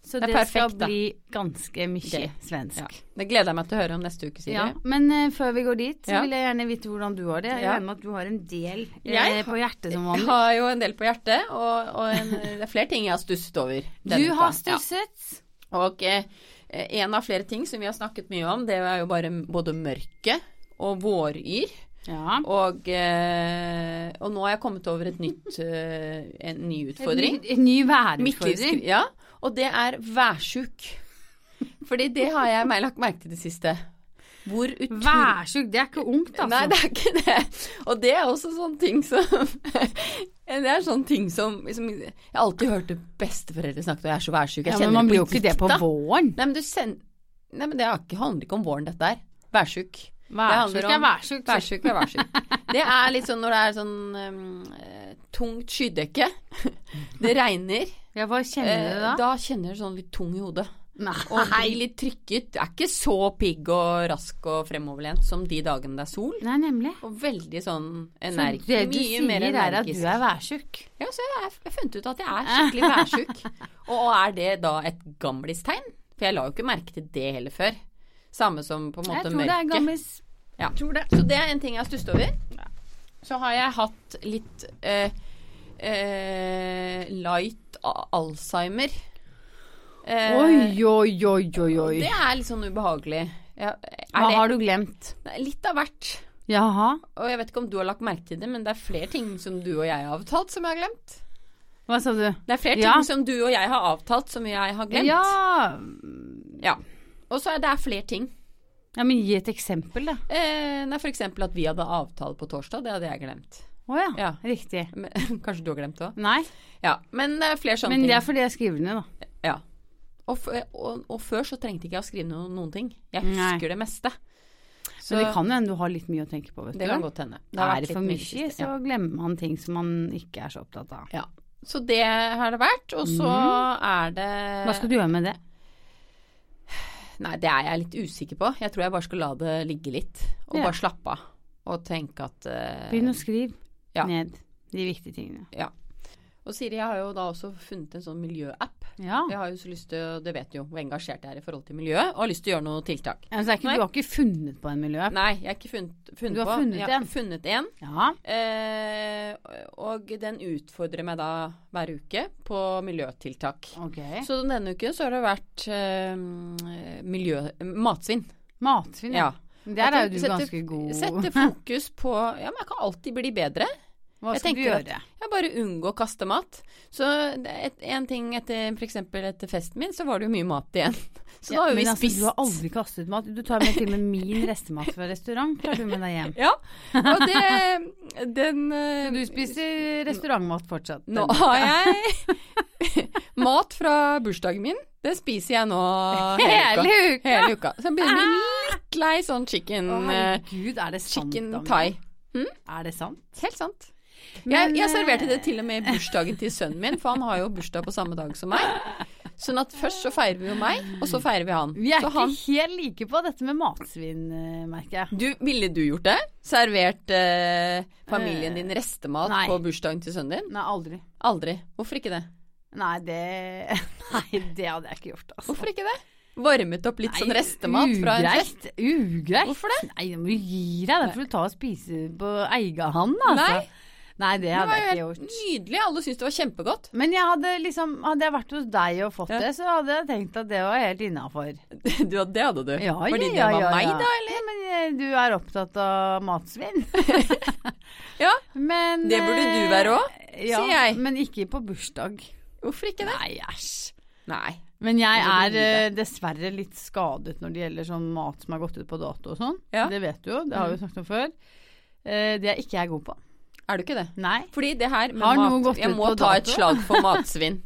Speaker 2: Så
Speaker 3: Det
Speaker 2: det, skal
Speaker 3: er perfekt, da.
Speaker 2: bli ganske mye
Speaker 3: Gøy.
Speaker 2: svensk.
Speaker 3: Ja.
Speaker 2: Ja.
Speaker 3: Det gleder jeg meg til å høre om neste uke, Siri.
Speaker 2: Men eh, før vi går dit, så
Speaker 3: Ja.
Speaker 2: vil jeg gjerne vite hvordan du har det. Jeg
Speaker 3: Ja.
Speaker 2: regner med at du har en del eh,
Speaker 3: Jeg
Speaker 2: på hjertet som
Speaker 3: Jeg
Speaker 2: vanlig.
Speaker 3: har jo en del på hjertet, og, og en, det er flere ting jeg har stusset over. denne
Speaker 2: Du
Speaker 3: uka.
Speaker 2: har
Speaker 3: Ja.
Speaker 2: stusset.
Speaker 3: Og eh, en av flere ting som vi har snakket mye om, det er jo bare både mørke og våryr.
Speaker 2: Ja.
Speaker 3: Og, eh, og nå har jeg kommet over et nytt, eh, en ny
Speaker 2: En ny,
Speaker 3: utfordring.
Speaker 2: en ny
Speaker 3: Midtlivskri-
Speaker 2: værutfordring.
Speaker 3: Ja, og det er værsjuk. Fordi det har jeg meg lagt merke til i det siste. Hvor utrolig
Speaker 2: Værsjuk, det er ikke ungt, altså.
Speaker 3: Nei, det er ikke det. Og det er også sånn ting som Det er sånn ting som liksom, Jeg alltid hørte besteforeldre snakke, og jeg er så værsjuk. Jeg
Speaker 2: ja,
Speaker 3: kjenner
Speaker 2: men man
Speaker 3: det
Speaker 2: blir jo ikke det på
Speaker 3: dikta.
Speaker 2: våren.
Speaker 3: Nei, men, du send... Nei, men det er ikke, handler ikke om våren, dette her. Værsjuk. handler
Speaker 2: Værsjuk er
Speaker 3: om-
Speaker 2: værsjuk. så-
Speaker 3: Værsjuk er værsjuk. Det er litt sånn når det er sånn um, eh, tungt skydekke. Det regner.
Speaker 2: Ja, hva kjenner du
Speaker 3: eh,
Speaker 2: da?
Speaker 3: da kjenner du sånn litt tung i hodet. Og
Speaker 2: Nei.
Speaker 3: blir litt trykket. Det er ikke så pigg og rask og fremoverlent som de dagene det er sol.
Speaker 2: Nei, nemlig.
Speaker 3: Og veldig sånn
Speaker 2: Så
Speaker 3: energisk.
Speaker 2: det du
Speaker 3: mye mer
Speaker 2: sier er at
Speaker 3: energisk.
Speaker 2: du er værsjuk.
Speaker 3: Ja, så jeg har funnet ut at jeg er skikkelig værsjuk. Og er det da et gamlistegn? For jeg la jo ikke merke til det heller før. Samme som på en
Speaker 2: Jeg
Speaker 3: måte
Speaker 2: tror det er
Speaker 3: mørket.
Speaker 2: gamlis.
Speaker 3: Ja. Så det er en ting jeg har stusset over. Så har jeg hatt litt eh, eh, light a- alzheimer. Eh,
Speaker 2: Oi, oi, oi, oi, oi.
Speaker 3: Det er litt sånn ubehagelig. Ja,
Speaker 2: Hva
Speaker 3: er
Speaker 2: har du glemt?
Speaker 3: det litt av hvert?
Speaker 2: Jaha.
Speaker 3: Og jeg vet ikke om du har lagt merke til det, men det er flere ting som du og jeg har avtalt som jeg har glemt.
Speaker 2: Hva sa du?
Speaker 3: Det er flere
Speaker 2: Ja.
Speaker 3: ting som du og jeg har avtalt som jeg har glemt.
Speaker 2: Ja.
Speaker 3: Ja. Og så er det er flere ting.
Speaker 2: ja, men gi et eksempel, da.
Speaker 3: Eh, nei, for eksempel at vi hadde avtale på torsdag, det hadde jeg glemt.
Speaker 2: Å ja.
Speaker 3: Ja.
Speaker 2: Riktig.
Speaker 3: Men, kanskje du har glemt det òg?
Speaker 2: Nei,
Speaker 3: Ja. Men det er flere sånne
Speaker 2: men det er
Speaker 3: ting.
Speaker 2: fordi jeg skriver ned, da.
Speaker 3: Ja. Og, f eh, og, og før så trengte ikke jeg å skrive noe, noen ting. Jeg
Speaker 2: Nei.
Speaker 3: husker det meste.
Speaker 2: Så det kan jo hende du har litt mye å tenke på, vet
Speaker 3: det
Speaker 2: du.
Speaker 3: kan godt hende. Det har vært
Speaker 2: Er det
Speaker 3: litt
Speaker 2: for
Speaker 3: mye i
Speaker 2: mye,
Speaker 3: det siste,
Speaker 2: så
Speaker 3: ja.
Speaker 2: glemmer man ting som man ikke er så opptatt av.
Speaker 3: ja. Så det har det vært. Og så er det
Speaker 2: Mhm. Hva skal du gjøre med det?
Speaker 3: Nei, det er jeg litt usikker på. Jeg tror jeg bare skal la det ligge litt. Og
Speaker 2: Ja.
Speaker 3: bare slappe av. Og tenke at eh,
Speaker 2: Begynn å skrive
Speaker 3: Ja.
Speaker 2: ned de viktige tingene.
Speaker 3: Ja. Og Siri, jeg har jo da også funnet en sånn miljøapp.
Speaker 2: Ja.
Speaker 3: Jeg har jo så lyst til, å- det vet du jo, hvor engasjert jeg er i forhold til miljøet, og har lyst til å gjøre noe tiltak.
Speaker 2: Ja, men så er ikke,
Speaker 3: Nei.
Speaker 2: du har ikke funnet på en miljøapp?
Speaker 3: Nei, jeg har ikke funnet, funnet
Speaker 2: Du har
Speaker 3: på.
Speaker 2: funnet
Speaker 3: jeg har
Speaker 2: en.
Speaker 3: funnet en.
Speaker 2: Ja.
Speaker 3: Eh, og den utfordrer meg da hver uke på miljøtiltak.
Speaker 2: Ok.
Speaker 3: Så denne uken så har det vært eh, miljø... Matsvinn.
Speaker 2: Matsvinn, ja.
Speaker 3: Ja.
Speaker 2: Der er jo du
Speaker 3: Sette-
Speaker 2: ganske god.
Speaker 3: Sette fokus på Ja, men jeg kan alltid bli bedre.
Speaker 2: Hva
Speaker 3: Jeg
Speaker 2: skal du
Speaker 3: tenker at
Speaker 2: gjøre?
Speaker 3: Jeg bare unngå å kaste mat. Så det er et, en ting etter f.eks. etter festen min, så var det jo mye mat igjen. Så da har jo
Speaker 2: Men
Speaker 3: vi
Speaker 2: altså,
Speaker 3: spist.
Speaker 2: Du har aldri kastet mat. Du tar med til og med min restemat fra restaurant. Tar du med deg hjem.
Speaker 3: Ja, og det Den eh,
Speaker 2: Du spiser restaurantmat fortsatt.
Speaker 3: Nå har jeg mat fra bursdagen min. Det spiser jeg nå hele uka.
Speaker 2: Hele uka! Ah.
Speaker 3: Hele uka. Så jeg begynner å bli litt lei sånn chicken,
Speaker 2: Å,
Speaker 3: eh,
Speaker 2: herregud, er det sant?
Speaker 3: chicken
Speaker 2: Dagny?
Speaker 3: thai.
Speaker 2: Er det sant?
Speaker 3: Helt sant.
Speaker 2: Men,
Speaker 3: jeg, jeg serverte det
Speaker 2: eh,
Speaker 3: til og med i bursdagen til sønnen min, for han har jo bursdag på samme dag som meg. Sånn at først så feirer vi jo meg, og så feirer vi han.
Speaker 2: eh, Vi er
Speaker 3: så
Speaker 2: ikke
Speaker 3: han
Speaker 2: helt like på dette med matsvinn, eh, merker jeg.
Speaker 3: du, Ville du gjort det? Servert eh, familien din restemat
Speaker 2: Nei.
Speaker 3: på bursdagen til sønnen din?
Speaker 2: Nei, aldri.
Speaker 3: Aldri. Hvorfor ikke det?
Speaker 2: Nei, det Nei, det hadde jeg ikke gjort, altså.
Speaker 3: Hvorfor ikke det? Varmet opp litt sånn restemat fra en fest.
Speaker 2: ugreit. Ugreit.
Speaker 3: Hvorfor det?
Speaker 2: Nei, du må jo gi deg. Da får du ta og spise på eierhånd, altså.
Speaker 3: Nei.
Speaker 2: Nei, det
Speaker 3: Det
Speaker 2: hadde
Speaker 3: var
Speaker 2: jeg ikke
Speaker 3: jo
Speaker 2: gjort.
Speaker 3: helt nydelig. Alle syntes det var kjempegodt.
Speaker 2: Men jeg hadde liksom Hadde jeg vært hos deg og fått
Speaker 3: Ja.
Speaker 2: det, så hadde jeg tenkt at det var helt innafor.
Speaker 3: Du, det hadde du.
Speaker 2: Ja,
Speaker 3: Fordi
Speaker 2: ja, ja,
Speaker 3: det var
Speaker 2: ja,
Speaker 3: meg,
Speaker 2: ja.
Speaker 3: da, eller?
Speaker 2: Ja, men eh, du er opptatt av matsvinn.
Speaker 3: Ja.
Speaker 2: Men eh,
Speaker 3: Det burde du være òg,
Speaker 2: ja,
Speaker 3: sier jeg.
Speaker 2: Men ikke på bursdag.
Speaker 3: Hvorfor ikke det?
Speaker 2: Nei, æsj.
Speaker 3: Nei.
Speaker 2: Men jeg
Speaker 3: Det
Speaker 2: er
Speaker 3: blir
Speaker 2: eh, dessverre litt skadet når det gjelder sånn mat som har gått ut på dato og sånn.
Speaker 3: Ja. Mm.
Speaker 2: Det vet du jo, det har vi snakket om før. Eh, Det er ikke jeg god på.
Speaker 3: Er du ikke det?
Speaker 2: Nei.
Speaker 3: Fordi det her med
Speaker 2: Har noe
Speaker 3: mat
Speaker 2: gått
Speaker 3: Jeg
Speaker 2: ut
Speaker 3: må
Speaker 2: på
Speaker 3: ta et
Speaker 2: dato?
Speaker 3: slag for matsvinn.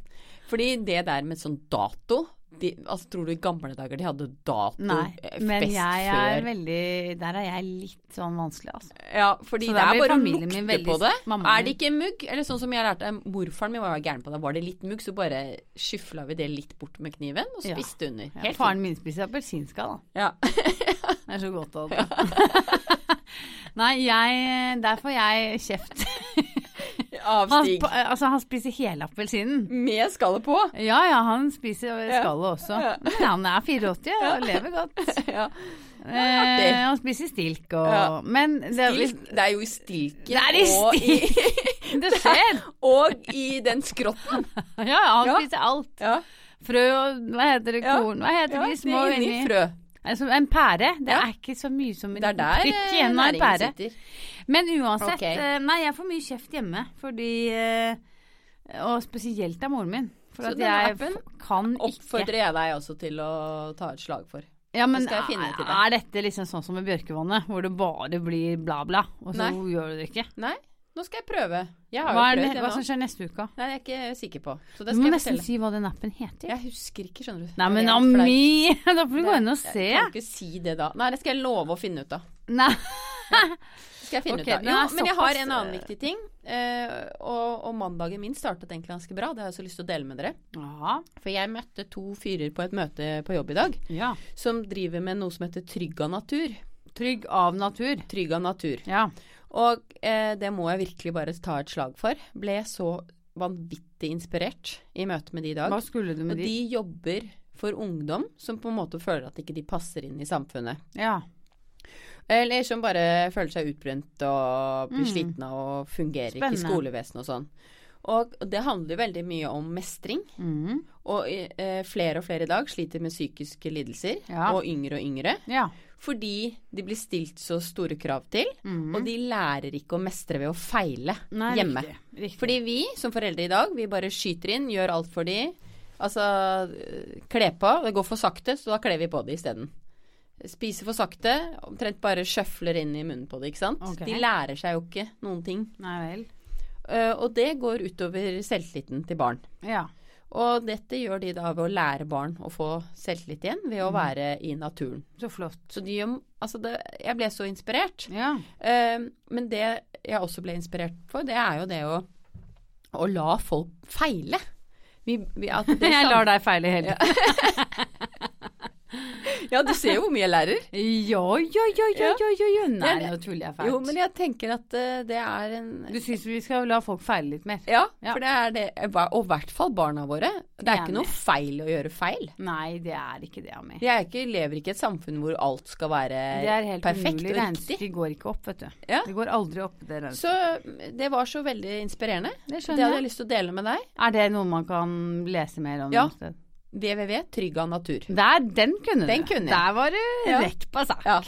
Speaker 3: Fordi det der med sånn dato de, altså, Tror du i gamle dager de hadde dato
Speaker 2: Nei.
Speaker 3: eh,
Speaker 2: Men
Speaker 3: fest
Speaker 2: jeg er
Speaker 3: før?
Speaker 2: veldig Der er jeg litt sånn vanskelig, altså.
Speaker 3: Ja, fordi
Speaker 2: Så
Speaker 3: det
Speaker 2: da
Speaker 3: er
Speaker 2: blir
Speaker 3: bare å
Speaker 2: familien
Speaker 3: lukte
Speaker 2: min veldig-
Speaker 3: på det.
Speaker 2: mammaen
Speaker 3: Er det ikke mugg? Eller sånn som jeg lærte Morfaren min var jo gæren på det. Var det litt mugg, så bare skyfla vi det litt bort med kniven og
Speaker 2: Ja.
Speaker 3: spiste under.
Speaker 2: Ja,
Speaker 3: Helt
Speaker 2: faren min spiser appelsinskall, da.
Speaker 3: Ja.
Speaker 2: Det er så godt av det. Nei, jeg eh, Der får jeg kjeft. Han,
Speaker 3: Avstig.
Speaker 2: sp- altså, han spiser hele appelsinen.
Speaker 3: Med skallet på.
Speaker 2: Ja ja, han spiser skallet også.
Speaker 3: Ja.
Speaker 2: Men han er 84 og lever godt.
Speaker 3: Ja. artig.
Speaker 2: Eh, han spiser stilk og
Speaker 3: Ja.
Speaker 2: Men det,
Speaker 3: Stilk, det er jo i stilken
Speaker 2: Det er i
Speaker 3: og, i,
Speaker 2: det skjer!
Speaker 3: og i den skrotten.
Speaker 2: Ja, ja, han
Speaker 3: Ja.
Speaker 2: spiser alt.
Speaker 3: Ja.
Speaker 2: Frø og hva heter det,
Speaker 3: Ja.
Speaker 2: korn Hva heter de små
Speaker 3: det er inni frø.
Speaker 2: Altså, en pære. Det
Speaker 3: Ja.
Speaker 2: er ikke så mye som en
Speaker 3: Det er der
Speaker 2: prikk
Speaker 3: eh,
Speaker 2: igjen av en
Speaker 3: næringen
Speaker 2: pære.
Speaker 3: sitter.
Speaker 2: Men uansett,
Speaker 3: Ok.
Speaker 2: eh, nei, jeg får mye kjeft hjemme, fordi eh, Og spesielt av moren min. For
Speaker 3: Så
Speaker 2: at
Speaker 3: denne
Speaker 2: jeg
Speaker 3: appen
Speaker 2: f- kan ikke
Speaker 3: Oppfordrer jeg deg også til å ta et slag for.
Speaker 2: ja, men
Speaker 3: skal jeg finne til det.
Speaker 2: Er dette liksom sånn som med Bjørkevannet, hvor det bare blir bla, bla, og så
Speaker 3: Nei.
Speaker 2: gjør du det ikke?
Speaker 3: Nei, nå skal jeg prøve. Jeg har
Speaker 2: Hva, er
Speaker 3: jo
Speaker 2: det,
Speaker 3: prøvd det
Speaker 2: hva
Speaker 3: nå.
Speaker 2: som skjer neste uke?
Speaker 3: Nei, jeg er ikke sikker på. Så det
Speaker 2: Du
Speaker 3: skal
Speaker 2: må
Speaker 3: jeg
Speaker 2: nesten
Speaker 3: fortelle.
Speaker 2: si hva den appen heter.
Speaker 3: Jeg husker ikke, skjønner du.
Speaker 2: Nei, men
Speaker 3: Det er flaut.
Speaker 2: Ami! Da får du gå inn og
Speaker 3: Jeg
Speaker 2: se.
Speaker 3: Kan ikke si det da. Nei, det skal jeg love å finne ut av.
Speaker 2: Nei.
Speaker 3: Det skal jeg finne
Speaker 2: Ok,
Speaker 3: ut av.
Speaker 2: den
Speaker 3: Jo,
Speaker 2: er
Speaker 3: men jeg har
Speaker 2: såpass,
Speaker 3: en annen
Speaker 2: eh,
Speaker 3: viktig ting. eh, og, og mandagen min startet egentlig ganske bra. Det har jeg så lyst til å dele med dere.
Speaker 2: Ja.
Speaker 3: For jeg møtte to fyrer på et møte på jobb i dag
Speaker 2: ja.
Speaker 3: som driver med noe som heter Trygga natur.
Speaker 2: Trygg av natur.
Speaker 3: Trygga natur.
Speaker 2: Ja.
Speaker 3: Og eh, det må jeg virkelig bare ta et slag for. Ble så vanvittig inspirert i møtet med de i dag.
Speaker 2: Hva skulle du
Speaker 3: Og
Speaker 2: med de?
Speaker 3: de jobber for ungdom som på en måte føler at ikke de passer inn i samfunnet.
Speaker 2: Ja.
Speaker 3: Eller som bare føler seg utbrent og blir
Speaker 2: Mm.
Speaker 3: slitne og fungerer ikke i
Speaker 2: Spennende.
Speaker 3: skolevesenet og sånn. Og det handler veldig mye om mestring.
Speaker 2: Mm.
Speaker 3: Og eh, flere og flere i dag sliter med psykiske lidelser.
Speaker 2: Ja.
Speaker 3: Og yngre og yngre.
Speaker 2: Ja.
Speaker 3: Fordi de blir stilt så store krav til.
Speaker 2: Mm.
Speaker 3: Og de lærer ikke å mestre ved å feile
Speaker 2: Nei,
Speaker 3: hjemme.
Speaker 2: Riktig. riktig.
Speaker 3: Fordi vi som foreldre i dag, vi bare skyter inn, gjør alt for de. Altså, øh, kle på. Det går for sakte, så da kler vi på det isteden. Spiser for sakte, omtrent bare sjøfler inn i munnen på det, ikke sant.
Speaker 2: Ok.
Speaker 3: De lærer seg jo ikke noen ting.
Speaker 2: Nei vel.
Speaker 3: Eh, og det går utover selvtilliten til barn.
Speaker 2: Ja.
Speaker 3: Og dette gjør de da ved å lære barn å få selvtillit igjen ved
Speaker 2: Mm.
Speaker 3: å være i naturen.
Speaker 2: Så flott.
Speaker 3: Så de gjør Altså, det, jeg ble så inspirert.
Speaker 2: Ja.
Speaker 3: Eh, men det jeg også ble inspirert for, det er jo det å, å la folk feile. Vi, vi, at det
Speaker 2: Jeg lar deg feile hele tiden.
Speaker 3: Ja, du ser jo hvor mye jeg lærer.
Speaker 2: Jo, jo, jo, jo, jo, jo, jo. Nei,
Speaker 3: Ja, det-
Speaker 2: nå tuller jeg fælt.
Speaker 3: Jo, men jeg tenker at eh, det er en
Speaker 2: Du syns vi skal la folk feile litt mer?
Speaker 3: ja,
Speaker 2: Ja.
Speaker 3: for det er det. eh, Og i hvert fall barna våre. Det er
Speaker 2: Enig.
Speaker 3: ikke noe feil å gjøre feil.
Speaker 2: Nei, det er ikke det, Ami.
Speaker 3: Jeg er ikke, lever ikke i et samfunn hvor alt skal være
Speaker 2: Det er helt umulig.
Speaker 3: perfekt og riktig.
Speaker 2: Regnestykket går ikke opp, vet du.
Speaker 3: Ja.
Speaker 2: Det går aldri opp, det regnestykket.
Speaker 3: Så mm, det var så veldig inspirerende.
Speaker 2: Det
Speaker 3: Det
Speaker 2: skjønner
Speaker 3: hadde jeg
Speaker 2: jeg.
Speaker 3: lyst til å dele med deg.
Speaker 2: Er det noe man kan lese mer om
Speaker 3: Ja.
Speaker 2: noe sted?
Speaker 3: www. Trygg av natur.
Speaker 2: Der, den kunne
Speaker 3: Den
Speaker 2: du.
Speaker 3: kunne jeg.
Speaker 2: Der var du
Speaker 3: Ja.
Speaker 2: rett på sak.
Speaker 3: Ja.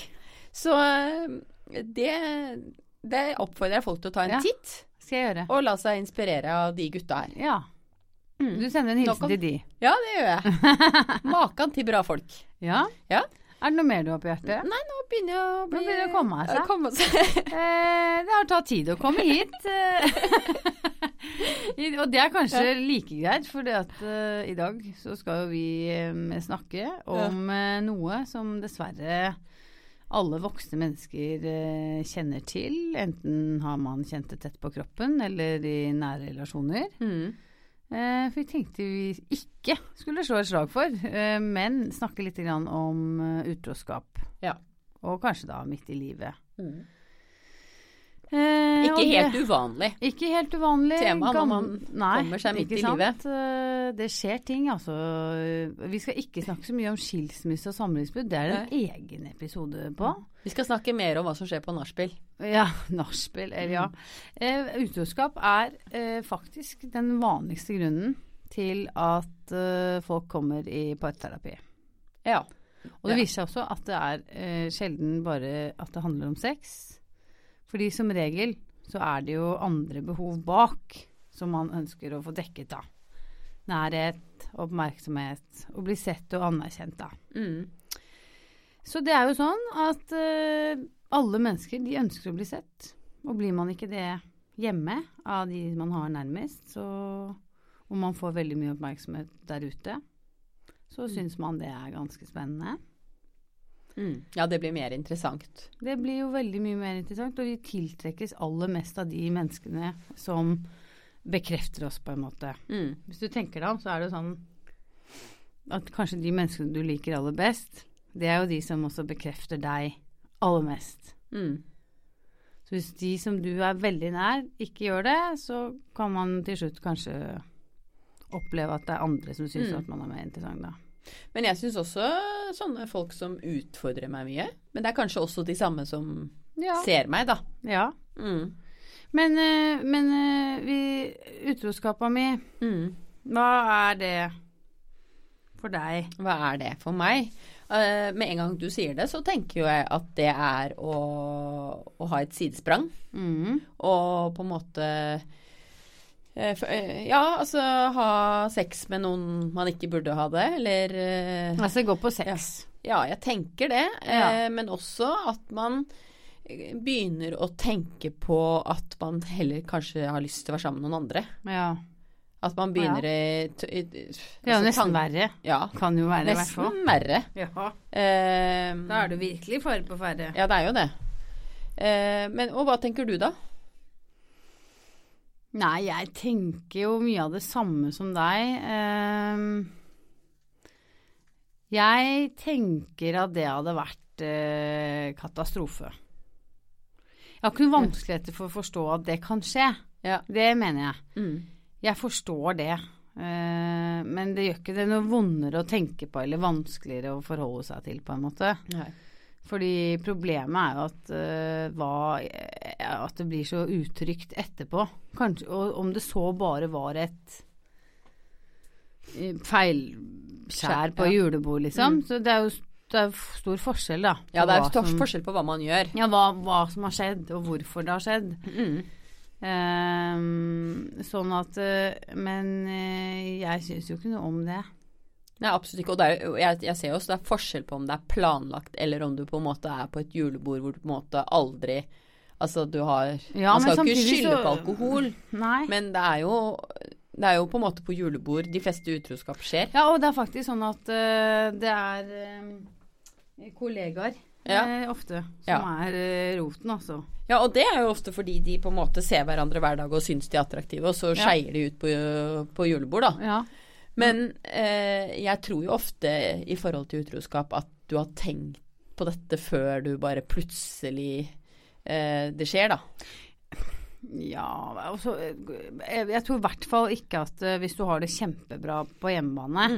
Speaker 3: Så eh, det, det oppfordrer jeg folk til å ta en
Speaker 2: Ja.
Speaker 3: titt
Speaker 2: Skal jeg gjøre.
Speaker 3: og la seg inspirere av de gutta her.
Speaker 2: Ja. Mm. Du sender en
Speaker 3: Nå
Speaker 2: hilsen
Speaker 3: kan-
Speaker 2: til de.
Speaker 3: Ja, det gjør jeg. Makan til bra folk.
Speaker 2: Ja?
Speaker 3: Ja.
Speaker 2: Er det noe mer du har på hjertet?
Speaker 3: Nei, nå begynner jeg å bli
Speaker 2: Nå begynner det å komme seg.
Speaker 3: Å komme seg.
Speaker 2: Eh, det har tatt tid å komme hit. eh. I- og det er kanskje like greit, for at eh, i dag så skal jo vi eh, snakke om eh, noe som dessverre alle voksne mennesker eh, kjenner til. Enten har man kjent det tett på kroppen eller i nære relasjoner. Eh, for vi tenkte vi ikke skulle slå et slag for, eh, men snakke litt grann om eh, utroskap.
Speaker 3: Ja.
Speaker 2: Og kanskje da midt i livet. Eh, og
Speaker 3: Mm. Ikke
Speaker 2: det-
Speaker 3: helt uvanlig.
Speaker 2: Ikke helt uvanlig.
Speaker 3: Tema når
Speaker 2: Gam-
Speaker 3: man
Speaker 2: Nei,
Speaker 3: kommer seg midt
Speaker 2: ikke
Speaker 3: i
Speaker 2: sant?
Speaker 3: livet.
Speaker 2: Eh, Det skjer ting, altså. Vi skal ikke snakke så mye om skilsmisse og samlivsbrudd. Det er en egen episode på.
Speaker 3: Vi skal snakke mer om hva som skjer på nachspiel.
Speaker 2: Ja, nachspiel, eller ja. Eh, utroskap er eh, faktisk den vanligste grunnen til at eh, folk kommer i parterapi.
Speaker 3: Ja.
Speaker 2: Og det
Speaker 3: Ja.
Speaker 2: viser seg også at det er eh, sjelden bare at det handler om sex. Fordi som regel så er det jo andre behov bak som man ønsker å få dekket av. Nærhet, oppmerksomhet, å bli sett og anerkjent av.
Speaker 3: Mm.
Speaker 2: Så det er jo sånn at eh, alle mennesker de ønsker å bli sett. Og blir man ikke det hjemme av de man har nærmest, så og man får veldig mye oppmerksomhet der ute, så syns man det er ganske spennende.
Speaker 3: Mm. Ja, det blir mer interessant.
Speaker 2: Det blir jo veldig mye mer interessant, og vi tiltrekkes aller mest av de menneskene som bekrefter oss, på en måte.
Speaker 3: Mm.
Speaker 2: Hvis du tenker deg om, så er det jo sånn at kanskje de menneskene du liker aller best, det er jo de som også bekrefter deg aller mest.
Speaker 3: Mm.
Speaker 2: Så hvis de som du er veldig nær, ikke gjør det, så kan man til slutt kanskje oppleve at det er andre som syns
Speaker 3: Mm.
Speaker 2: at man er mer interessant, da.
Speaker 3: Men jeg syns også sånne folk som utfordrer meg mye. Men det er kanskje også de samme som
Speaker 2: Se-
Speaker 3: ser meg, da.
Speaker 2: ja.
Speaker 3: Mm.
Speaker 2: Men, eh, men eh, vi Utroskapa mi,
Speaker 3: Mm.
Speaker 2: hva er det for deg?
Speaker 3: Hva er det for meg? Eh, med en gang du sier det, så tenker jo jeg at det er å, å ha et sidesprang.
Speaker 2: Mm.
Speaker 3: Og på en måte eh, f- eh, Ja, altså ha sex med noen man ikke burde ha det, eller eh,
Speaker 2: Altså gå på sex.
Speaker 3: Ja, jeg tenker det.
Speaker 2: Ja.
Speaker 3: eh, Men også at man eh, begynner å tenke på at man heller kanskje har lyst til å være sammen med noen andre.
Speaker 2: Ja.
Speaker 3: At man begynner i, t- i,
Speaker 2: Det er jo nesten verre.
Speaker 3: Ja,
Speaker 2: Kan jo være, i hvert fall.
Speaker 3: nesten verre.
Speaker 2: Ja.
Speaker 3: Eh,
Speaker 2: Da er du virkelig fare på ferde.
Speaker 3: Ja, det er jo det. Eh, men, og hva tenker du da?
Speaker 2: Nei, jeg tenker jo mye av det samme som deg. Ehm, jeg tenker at det hadde vært eh, katastrofe. Jeg har ikke noen vanskeligheter for å forstå at det kan skje.
Speaker 3: Ja.
Speaker 2: Det mener jeg. Jeg forstår det. Eh, men det gjør ikke det noe vondere å tenke på eller vanskeligere å forholde seg til, på en måte.
Speaker 3: Nei.
Speaker 2: Fordi problemet er jo at, eh, hva, eh, at det blir så utrygt etterpå. Kanskje, og om det så bare var et eh, feilskjær på
Speaker 3: Skjær, ja. Mm.
Speaker 2: julebord, liksom. Så det er jo det er jo f- stor forskjell, da.
Speaker 3: Ja,
Speaker 2: på
Speaker 3: det er
Speaker 2: hva
Speaker 3: stor
Speaker 2: som-
Speaker 3: forskjell på hva man gjør.
Speaker 2: Ja, hva, hva som har skjedd, og hvorfor det har skjedd. Eh, sånn at eh, Men eh, jeg syns jo ikke noe om det.
Speaker 3: Nei, absolutt ikke. Og det er, jo- jeg, jeg ser jo også det er forskjell på om det er planlagt, eller om du på en måte er på et julebord hvor du på en måte aldri Altså, du har
Speaker 2: Ja,
Speaker 3: Man
Speaker 2: men
Speaker 3: skal jo ikke
Speaker 2: samtidig
Speaker 3: skylde
Speaker 2: så-
Speaker 3: på alkohol,
Speaker 2: Nei.
Speaker 3: men det er jo det er jo på en måte på julebord de fleste utroskap skjer.
Speaker 2: Ja, og det er faktisk sånn at eh, det er eh, kollegaer
Speaker 3: Ja.
Speaker 2: eh, ofte som
Speaker 3: Ja.
Speaker 2: er eh, roten, altså.
Speaker 3: Ja, og det er jo ofte fordi de på en måte ser hverandre hver dag og syns de er attraktive, og så skeier de ut på, på julebord, da.
Speaker 2: Ja.
Speaker 3: Men eh, jeg tror jo ofte i forhold til utroskap at du har tenkt på dette før du bare plutselig eh, Det skjer, da.
Speaker 2: altså, eh, jeg, jeg tror i hvert fall ikke at eh, hvis du har det kjempebra på hjemmebane,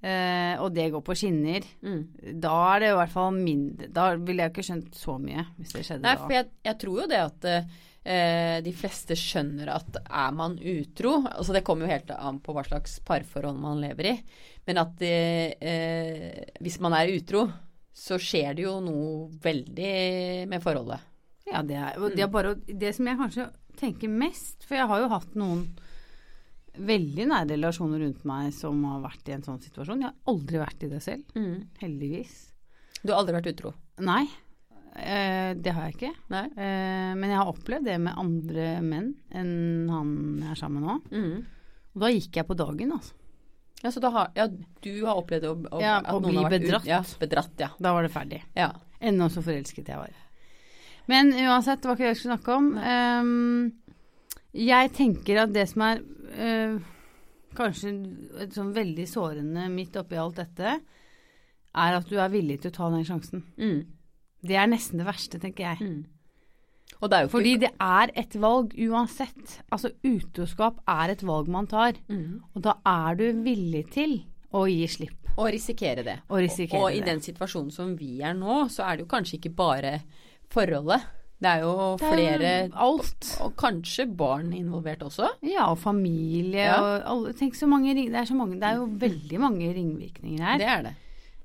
Speaker 3: Mm.
Speaker 2: eh, og det går på skinner, da er det i hvert fall mindre Da ville jeg ikke skjønt så mye hvis det skjedde
Speaker 3: Nei, for
Speaker 2: da.
Speaker 3: jeg, jeg tror jo det at eh, de fleste skjønner at er man utro Altså det kommer jo helt an på hva slags parforhold man lever i, men at eh, eh, hvis man er utro, så skjer det jo noe veldig med forholdet.
Speaker 2: Ja, det, er, og det, er bare, å- det som jeg kanskje tenker mest, for jeg har jo hatt noen veldig nære relasjoner rundt meg som har vært i en sånn situasjon. Jeg har aldri vært i det selv.
Speaker 3: Mm.
Speaker 2: Heldigvis.
Speaker 3: Du har aldri vært utro?
Speaker 2: Nei, eh, det har jeg ikke.
Speaker 3: Nei.
Speaker 2: Eh, men jeg har opplevd det med andre menn enn han jeg er sammen med nå.
Speaker 3: Mm.
Speaker 2: Og da gikk jeg på dagen, altså.
Speaker 3: Ja, så da har, ja, du har opplevd å, å,
Speaker 2: Ja,
Speaker 3: at
Speaker 2: å
Speaker 3: noen
Speaker 2: bli
Speaker 3: har vært
Speaker 2: bedratt.
Speaker 3: Ut, ja, bedratt, ja.
Speaker 2: Da var det ferdig.
Speaker 3: ja.
Speaker 2: Ennå så forelsket jeg var. Men uansett, det var ikke det jeg skulle snakke om. Eh, jeg tenker at det som er eh, kanskje et sånn veldig sårende midt oppi alt dette, er at du er villig til å ta den sjansen.
Speaker 3: Mm.
Speaker 2: Det er nesten det verste, tenker jeg.
Speaker 3: Og det er jo ikke
Speaker 2: Fordi det er et valg uansett. Altså utroskap er et valg man tar. Og da er du villig til å gi slipp.
Speaker 3: å risikere det.
Speaker 2: Å risikere
Speaker 3: og, og i
Speaker 2: det.
Speaker 3: den situasjonen som vi er nå, så er det jo kanskje ikke bare forholdet. Det er jo flere
Speaker 2: Alt.
Speaker 3: Og kanskje barn involvert også.
Speaker 2: Ja, og familie
Speaker 3: Ja.
Speaker 2: og alle Tenk så mange ring... Det er, så mange, det er jo veldig mange ringvirkninger her.
Speaker 3: Det er det.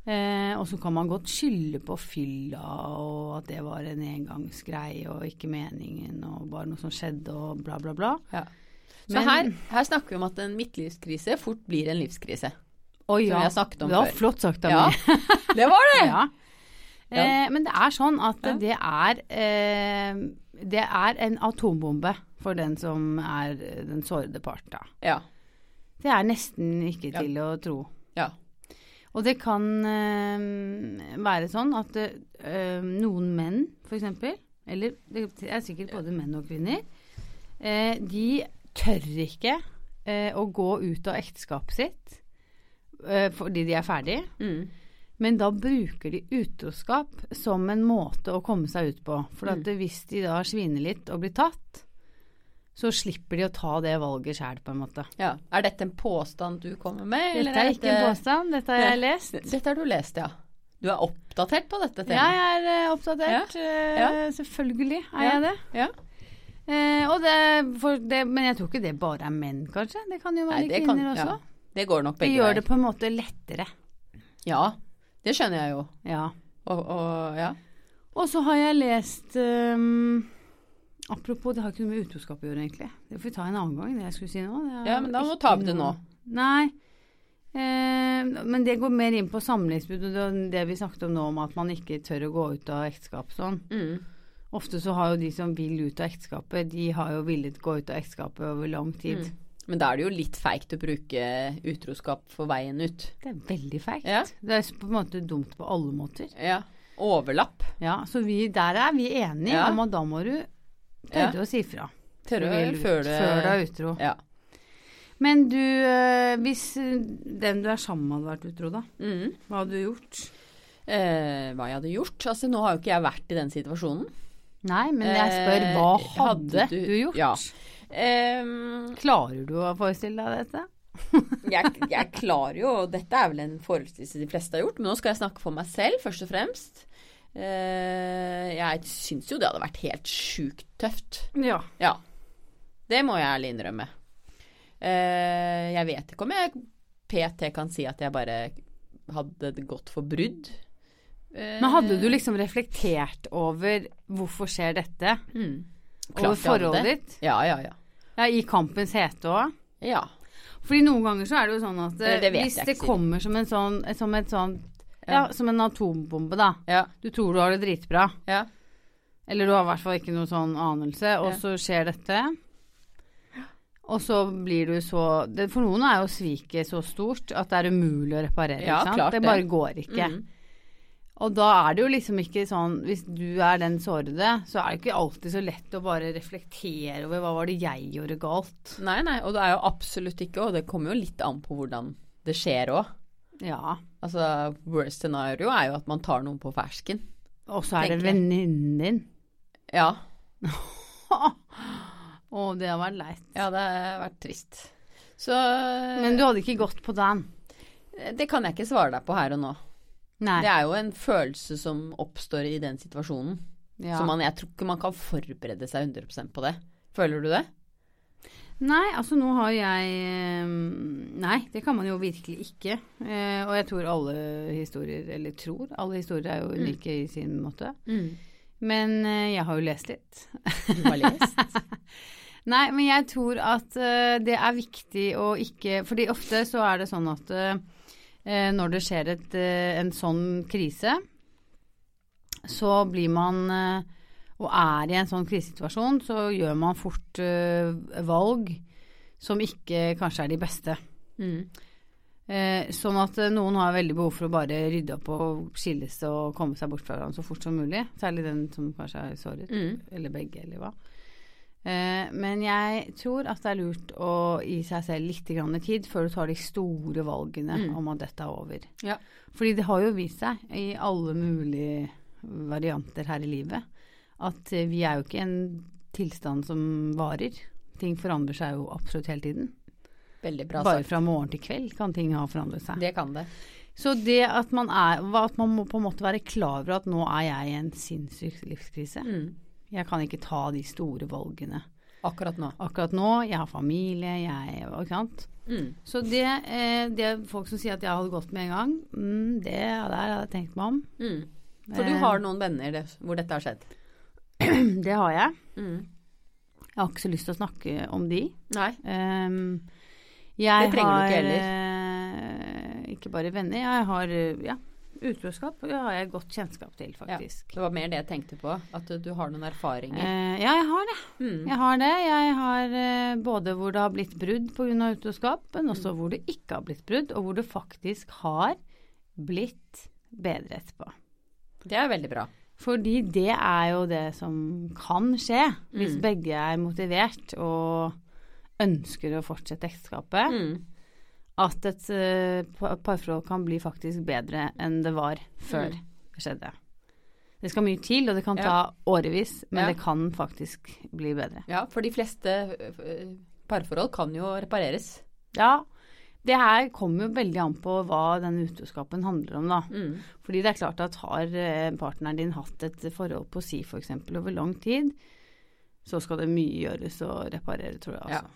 Speaker 2: Eh, og så kan man godt skylde på fylla og at det var en engangsgreie og ikke meningen og bare noe som skjedde og bla, bla, bla.
Speaker 3: Så
Speaker 2: Men-
Speaker 3: her, her snakker vi om at en midtlivskrise fort blir en livskrise.
Speaker 2: Å
Speaker 3: vi har snakket om
Speaker 2: det var
Speaker 3: før.
Speaker 2: flott sagt av
Speaker 3: Ja,
Speaker 2: meg.
Speaker 3: det var det!
Speaker 2: Ja. Eh, men det er sånn at
Speaker 3: Ja.
Speaker 2: det er eh, Det er en atombombe for den som er eh, den sårede part, da.
Speaker 3: Ja.
Speaker 2: Det er nesten ikke
Speaker 3: Ja.
Speaker 2: til å tro.
Speaker 3: ja.
Speaker 2: Og det kan eh, være sånn at eh, noen menn, for eksempel, eller det er sikkert både menn og kvinner, eh, de tør ikke eh, å gå ut av ekteskapet sitt eh, fordi de er ferdig.
Speaker 3: Mm.
Speaker 2: Men da bruker de utroskap som en måte å komme seg ut på. For at hvis de da sviner litt og blir tatt, så slipper de å ta det valget sjæl, på en måte.
Speaker 3: ja. Er dette en påstand du kommer med? eller eh,
Speaker 2: Dette er ikke en påstand, dette har jeg lest.
Speaker 3: Dette har du lest, ja. Du er oppdatert på dette temaet?
Speaker 2: Jeg er eh, oppdatert. eh, Selvfølgelig er jeg det.
Speaker 3: Ja.
Speaker 2: Eh, og det, for det. Men jeg tror ikke det bare er menn, kanskje. Det kan jo være
Speaker 3: Nei, det
Speaker 2: kvinner
Speaker 3: kan-
Speaker 2: også.
Speaker 3: ja. Det går nok
Speaker 2: Det
Speaker 3: begge
Speaker 2: gjør det
Speaker 3: veier.
Speaker 2: på en måte lettere.
Speaker 3: Ja, det skjønner jeg jo.
Speaker 2: Ja.
Speaker 3: Og, og ja.
Speaker 2: Og så har jeg lest ehm, Apropos, det har ikke noe med utroskap å gjøre, egentlig. Det får vi ta en annen gang, det jeg skulle si nå. Det er
Speaker 3: ja, men da må
Speaker 2: ikke
Speaker 3: du ta opp det nå.
Speaker 2: noe- Nei. Eh, men det går mer inn på samlivsbrudd og det- det vi snakket om nå, om at man ikke tør å gå ut av ekteskap sånn.
Speaker 3: Mm.
Speaker 2: Ofte så har jo de som vil ut av ekteskapet, de har jo villet gå ut av ekteskapet over lang tid.
Speaker 3: Mm. Men da er det jo litt feigt å bruke utroskap for veien ut.
Speaker 2: Det er veldig feigt.
Speaker 3: Ja.
Speaker 2: Det er på en måte dumt på alle måter.
Speaker 3: Ja. Overlapp.
Speaker 2: Ja, Så vi, der er vi enige
Speaker 3: Ja.
Speaker 2: om at da må du
Speaker 3: Ja.
Speaker 2: tørre å si fra.
Speaker 3: Tør du
Speaker 2: Vel ut,
Speaker 3: før det
Speaker 2: før du er utro.
Speaker 3: Ja.
Speaker 2: Men du, eh, hvis eh, den du er sammen med hadde vært utro, da?
Speaker 3: Mm.
Speaker 2: Hva hadde du gjort?
Speaker 3: Eh, hva jeg hadde gjort? Altså, nå har jo ikke jeg vært i den situasjonen.
Speaker 2: Nei, men jeg spør, hva
Speaker 3: Eh,
Speaker 2: hadde,
Speaker 3: hadde
Speaker 2: du,
Speaker 3: du-
Speaker 2: gjort?
Speaker 3: Ja. Ehm,
Speaker 2: Klarer du å forestille deg dette?
Speaker 3: jeg, jeg klarer jo og Dette er vel en forestillelse de fleste har gjort, men nå skal jeg snakke for meg selv, først og fremst. Eh, jeg syns jo det hadde vært helt sjukt tøft.
Speaker 2: Ja.
Speaker 3: Ja. Det må jeg ærlig innrømme. Eh, jeg vet ikke om jeg PT kan si at jeg bare hadde det gått for brudd. Eh,
Speaker 2: Men hadde du liksom reflektert over hvorfor skjer dette?
Speaker 3: mm,
Speaker 2: Over
Speaker 3: klart jeg hadde
Speaker 2: forholdet
Speaker 3: det.
Speaker 2: ditt?
Speaker 3: Ja, ja, ja.
Speaker 2: Ja, I kampens hete òg?
Speaker 3: Ja.
Speaker 2: Fordi noen ganger så er det jo sånn at eh,
Speaker 3: Eller det vet
Speaker 2: hvis
Speaker 3: jeg
Speaker 2: det
Speaker 3: ikke,
Speaker 2: kommer som en sånn Som, et sånt, ja,
Speaker 3: Ja.
Speaker 2: som en atombombe, da.
Speaker 3: Ja.
Speaker 2: Du tror du har det dritbra,
Speaker 3: ja.
Speaker 2: eller du har i hvert fall ikke noen sånn anelse, og
Speaker 3: Ja.
Speaker 2: så skjer dette. Og så blir du så det, For noen er jo sviket så stort at det er umulig å reparere.
Speaker 3: Ja,
Speaker 2: ikke sant?
Speaker 3: klart
Speaker 2: det
Speaker 3: det.
Speaker 2: bare går ikke.
Speaker 3: Mm.
Speaker 2: Og da er det jo liksom ikke sånn Hvis du er den sårede, så er det ikke alltid så lett å bare reflektere over hva var det jeg gjorde galt.
Speaker 3: Nei, nei, og det er jo absolutt ikke, og det kommer jo litt an på hvordan det skjer òg.
Speaker 2: Ja.
Speaker 3: Altså, worst scenario er jo at man tar noen på fersken.
Speaker 2: Og så er det
Speaker 3: Tenker jeg.
Speaker 2: venninnen din.
Speaker 3: Ja,
Speaker 2: Å, det har vært leit.
Speaker 3: ja det har vært trist. Så eh,
Speaker 2: Men du hadde ikke gått på den.
Speaker 3: det kan jeg ikke svare deg på her og nå.
Speaker 2: Nei.
Speaker 3: Det er jo en følelse som oppstår i den situasjonen.
Speaker 2: ja.
Speaker 3: Så man, jeg tror ikke man kan forberede seg 100 på det. Føler du det?
Speaker 2: Nei, altså nå har jeg eh, Nei, det kan man jo virkelig ikke. Eh, og jeg tror alle historier, eller tror, alle historier er jo unike i sin måte. Men eh, jeg har jo lest litt.
Speaker 3: Du har lest?
Speaker 2: Nei, men jeg tror at eh, det er viktig å ikke Fordi ofte så er det sånn at eh, når det skjer et, eh, en sånn krise, så blir man eh, Og er i en sånn krisesituasjon, så gjør man fort eh, valg som ikke kanskje er de beste.
Speaker 3: Mm.
Speaker 2: Eh, sånn at eh, noen har veldig behov for å bare rydde opp og skilles og komme seg bort fra hverandre så fort som mulig. Særlig den som kanskje er såret.
Speaker 3: Mm.
Speaker 2: Eller begge, eller hva. Eh, men jeg tror at det er lurt å gi seg selv litt grann tid før du tar de store valgene
Speaker 3: Mm.
Speaker 2: om at dette er over.
Speaker 3: Ja.
Speaker 2: Fordi det har jo vist seg i alle mulige varianter her i livet at eh, vi er jo ikke en tilstand som varer. Ting forandrer seg jo absolutt hele tiden.
Speaker 3: Veldig bra
Speaker 2: Bare
Speaker 3: sagt.
Speaker 2: fra morgen til kveld kan ting ha forandret seg.
Speaker 3: Det kan det.
Speaker 2: Så det at man, er, hva- at man må på en måte være klar over at nå er jeg i en sinnssyk livskrise.
Speaker 3: Mm.
Speaker 2: Jeg kan ikke ta de store valgene
Speaker 3: Akkurat nå.
Speaker 2: akkurat nå. Jeg har familie, jeg Ikke sant.
Speaker 3: Mm.
Speaker 2: Så det, eh, det er folk som sier at jeg hadde gått med en gang, mm, det der hadde jeg tenkt meg om.
Speaker 3: Mm. For du
Speaker 2: Eh,
Speaker 3: har noen venner det, hvor dette har skjedd?
Speaker 2: Det har jeg.
Speaker 3: Mm.
Speaker 2: Jeg har ikke så lyst til å snakke om de.
Speaker 3: Nei.
Speaker 2: Ehm, jeg
Speaker 3: Det trenger du ikke
Speaker 2: har, eh, ikke bare venner, jeg har eh, ja, utroskap. og Det har jeg godt kjennskap til, faktisk.
Speaker 3: Det var mer det jeg tenkte på. At du, du har noen erfaringer.
Speaker 2: Eh, ja, jeg har det.
Speaker 3: Mm.
Speaker 2: Jeg har det. Jeg har eh, både hvor det har blitt brudd pga. utroskap, men også
Speaker 3: Mm.
Speaker 2: hvor det ikke har blitt brudd, og hvor det faktisk har blitt bedre etterpå.
Speaker 3: Det er veldig bra.
Speaker 2: Fordi det er jo det som kan skje hvis
Speaker 3: Mm.
Speaker 2: begge er motivert og ønsker å fortsette ekteskapet.
Speaker 3: Mm.
Speaker 2: At et eh, pa- parforhold kan bli faktisk bedre enn det var før
Speaker 3: Mm.
Speaker 2: det skjedde. Det skal mye til, og det kan
Speaker 3: Ja.
Speaker 2: ta årevis, men
Speaker 3: Ja.
Speaker 2: det kan faktisk bli bedre.
Speaker 3: Ja, for de fleste ø, ø, parforhold kan jo repareres.
Speaker 2: Ja, det her kommer jo veldig an på hva den utroskapen handler om, da.
Speaker 3: Mm.
Speaker 2: Fordi det er klart at har eh, partneren din hatt et forhold på si f.eks. over lang tid, så skal det mye gjøres å reparere, tror jeg.
Speaker 3: Ja.
Speaker 2: Altså.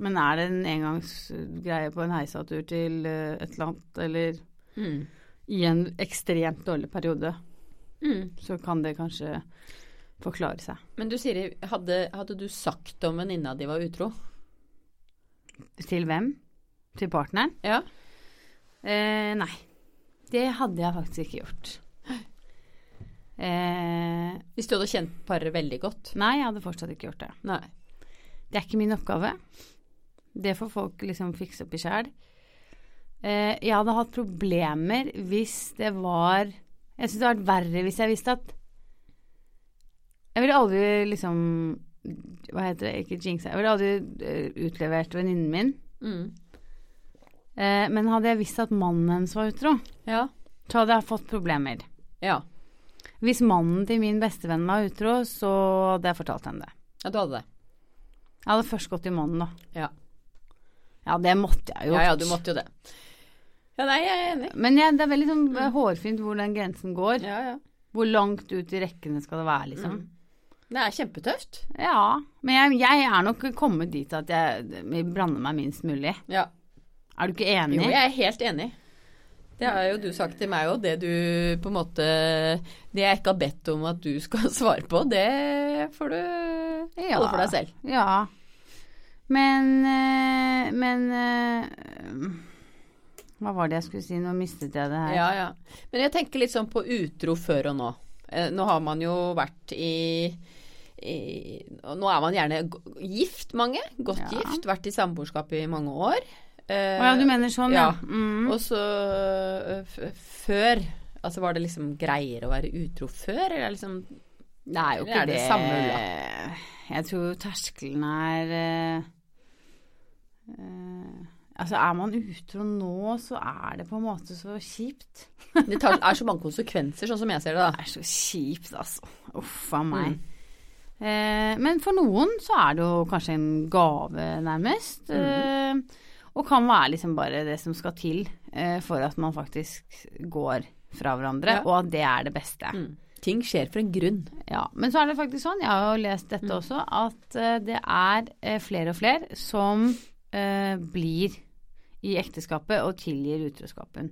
Speaker 2: Men er det en engangsgreie på en heisatur til eh, et eller annet, eller
Speaker 3: Mm.
Speaker 2: i en ekstremt dårlig periode,
Speaker 3: Mm.
Speaker 2: så kan det kanskje forklare seg.
Speaker 3: Men du Siri, hadde, hadde du sagt om venninna di var utro?
Speaker 2: Til hvem? Til partneren?
Speaker 3: Ja.
Speaker 2: Eh, nei. Det hadde jeg faktisk ikke gjort. Eh,
Speaker 3: Hvis du hadde kjent paret veldig godt?
Speaker 2: nei, jeg hadde fortsatt ikke gjort det.
Speaker 3: Nei.
Speaker 2: Det er ikke min oppgave. Det får folk liksom fikse opp i sjæl. Eh, jeg hadde hatt problemer hvis det var Jeg syns det hadde vært verre hvis jeg visste at Jeg ville aldri liksom Hva heter det? Ikke jinxa. Jeg ville aldri eh, utlevert venninnen min.
Speaker 3: Mm.
Speaker 2: Eh, men hadde jeg visst at mannen hennes var utro,
Speaker 3: Ja.
Speaker 2: så hadde jeg fått problemer.
Speaker 3: ja.
Speaker 2: Hvis mannen til min bestevenn var utro, så hadde jeg fortalt henne det.
Speaker 3: Ja, du hadde det.
Speaker 2: Jeg hadde først gått til mannen, da.
Speaker 3: Ja.
Speaker 2: Ja, det måtte jeg jo.
Speaker 3: Ja, ja, du måtte jo det. Ja, nei, jeg er enig.
Speaker 2: Men jeg- det er veldig sånn eh, hårfint hvor den grensen går.
Speaker 3: Ja, ja.
Speaker 2: Hvor langt ut i rekkene skal det være, liksom.
Speaker 3: Det er kjempetøft.
Speaker 2: Ja. Men jeg, jeg er nok kommet dit at jeg blander meg minst mulig.
Speaker 3: Ja.
Speaker 2: Er du ikke enig?
Speaker 3: Jo, jeg er helt enig. Det har jo du sagt til meg òg, det du på en måte Det jeg ikke har bedt om at du skal svare på, det får du
Speaker 2: Ja.
Speaker 3: holde for deg selv.
Speaker 2: Ja. Men eh, Men eh, Hva var det jeg skulle si? Nå mistet jeg det her.
Speaker 3: Ja, ja. Men jeg tenker litt sånn på utro før og nå. Eh, Nå har man jo vært i, i og Nå er man gjerne g- gift, mange. Godt
Speaker 2: Ja.
Speaker 3: gift. Vært i samboerskap i mange år.
Speaker 2: Å ja, du mener sånn, ja.
Speaker 3: ja.
Speaker 2: Mm.
Speaker 3: Og så eh, f før Altså var det liksom greiere å være utro før, eller er det liksom
Speaker 2: Det er jo
Speaker 3: Eller
Speaker 2: ikke
Speaker 3: er det
Speaker 2: det,
Speaker 3: samme
Speaker 2: Jeg tror terskelen er eh, eh, Altså, er man utro nå, så er det på en måte så kjipt.
Speaker 3: Det tar, er så mange konsekvenser, sånn som jeg ser det,
Speaker 2: Det
Speaker 3: da.
Speaker 2: er så kjipt, altså. Uff a meg.
Speaker 3: Mm.
Speaker 2: Eh, men for noen så er det jo kanskje en gave, nærmest.
Speaker 3: Mm.
Speaker 2: Eh, og kan være liksom bare det som skal til eh, for at man faktisk går fra hverandre,
Speaker 3: Ja.
Speaker 2: og at det er det beste.
Speaker 3: Mm. Ting skjer for en grunn.
Speaker 2: Ja, Men så er det faktisk sånn, jeg har jo lest dette også, at eh, det er eh, flere og flere som eh, blir i ekteskapet og tilgir utroskapen.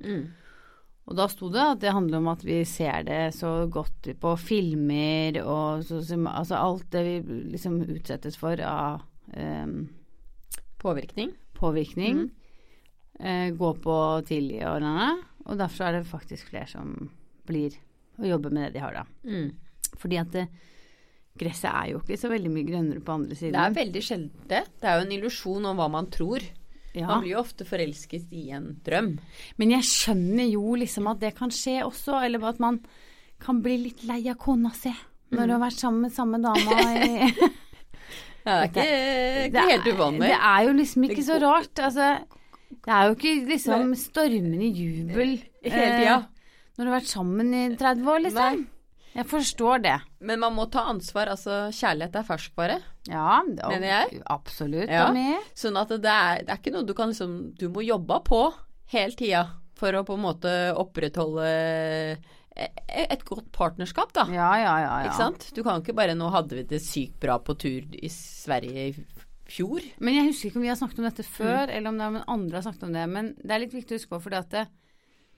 Speaker 2: Og da sto det at det handler om at vi ser det så godt på filmer og så, som- altså alt det vi liksom utsettes for av em,
Speaker 3: Påvirkning.
Speaker 2: påvirkning. Eh, gå på tidlig i årene. Og derfor er det faktisk flere som blir og jobber med det de har da. Fordi at det, gresset er jo ikke så veldig mye grønnere på andre
Speaker 3: Det er
Speaker 2: siden.
Speaker 3: veldig sjelden det. Det er jo en illusjon om hva man tror.
Speaker 2: Ja.
Speaker 3: Man blir jo ofte forelsket i en drøm.
Speaker 2: Men jeg skjønner jo liksom at det kan skje også, eller at man kan bli litt lei av kona si når
Speaker 3: Mm.
Speaker 2: du har vært sammen med samme dama i
Speaker 3: Det er ikke, ikke helt uvanlig.
Speaker 2: Det er jo liksom ikke
Speaker 3: Det
Speaker 2: så
Speaker 3: går-
Speaker 2: rart. Altså, det er jo ikke liksom stormende jubel
Speaker 3: Hele tida.
Speaker 2: eh, når du har vært sammen i 30 år, liksom. Jeg forstår det.
Speaker 3: Men man må ta ansvar. Altså, kjærlighet er ferskvare.
Speaker 2: Ja, det-
Speaker 3: Mener jeg?
Speaker 2: Absolutt.
Speaker 3: Ja.
Speaker 2: Tommy.
Speaker 3: Sånn at det er, det er ikke noe du kan liksom Du må jobbe på hele tida for å på en måte opprettholde e- et godt partnerskap, da.
Speaker 2: Ja, ja, ja. ja.
Speaker 3: Ikke sant? Du kan ikke bare Nå hadde vi det sykt bra på tur i Sverige i fjor.
Speaker 2: Men jeg husker ikke om vi har snakket om
Speaker 3: Mm.
Speaker 2: dette før, eller om det er om andre har snakket om det. Men det er litt viktig å huske på, fordi at det,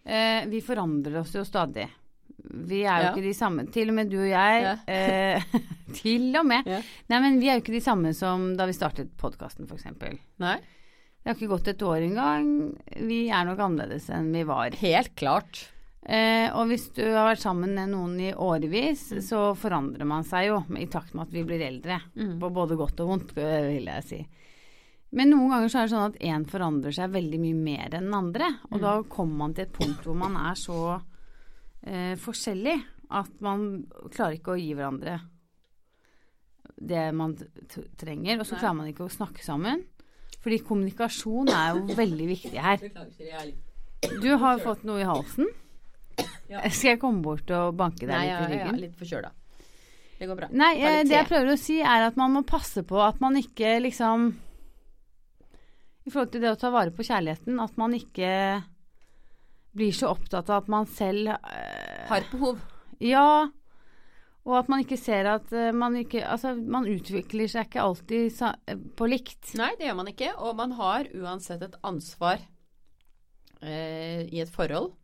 Speaker 2: eh, vi forandrer oss jo stadig. Vi er jo
Speaker 3: Ja.
Speaker 2: ikke de samme. Til og med du og jeg.
Speaker 3: Ja.
Speaker 2: Eh, til og med.
Speaker 3: Ja.
Speaker 2: Nei, men vi er jo ikke de samme som da vi startet podkasten, f.eks. Det
Speaker 3: Nei.
Speaker 2: har ikke gått et år engang. Vi er nok annerledes enn vi var.
Speaker 3: Helt klart.
Speaker 2: Eh, og hvis du har vært sammen med noen i årevis, så forandrer man seg jo i takt med at vi blir eldre. På både godt og vondt, eh, vil jeg si. Men noen ganger så er det sånn at én forandrer seg veldig mye mer enn den andre. Og da kommer man til et punkt hvor man er så eh, forskjellig at man klarer ikke å gi hverandre det man t trenger. Og så
Speaker 3: Nei.
Speaker 2: klarer man ikke å snakke sammen. Fordi kommunikasjon er jo veldig viktig her. Du har fått noe i halsen.
Speaker 3: Ja.
Speaker 2: Skal jeg komme bort og banke deg
Speaker 3: Nei,
Speaker 2: litt i
Speaker 3: jeg er
Speaker 2: ryggen?
Speaker 3: litt forkjøla. Det går bra.
Speaker 2: Nei,
Speaker 3: Ta
Speaker 2: eh,
Speaker 3: litt
Speaker 2: det jeg
Speaker 3: te.
Speaker 2: prøver å si er at man må passe på at man ikke liksom I forhold til det å ta vare på kjærligheten, at man ikke blir så opptatt av at man selv eh,
Speaker 3: Har et behov.
Speaker 2: Ja. Og at man ikke ser at eh, man ikke Altså, man utvikler seg ikke alltid sa, eh, på likt.
Speaker 3: Nei, det gjør man ikke. Og man har uansett et ansvar eh, i et forhold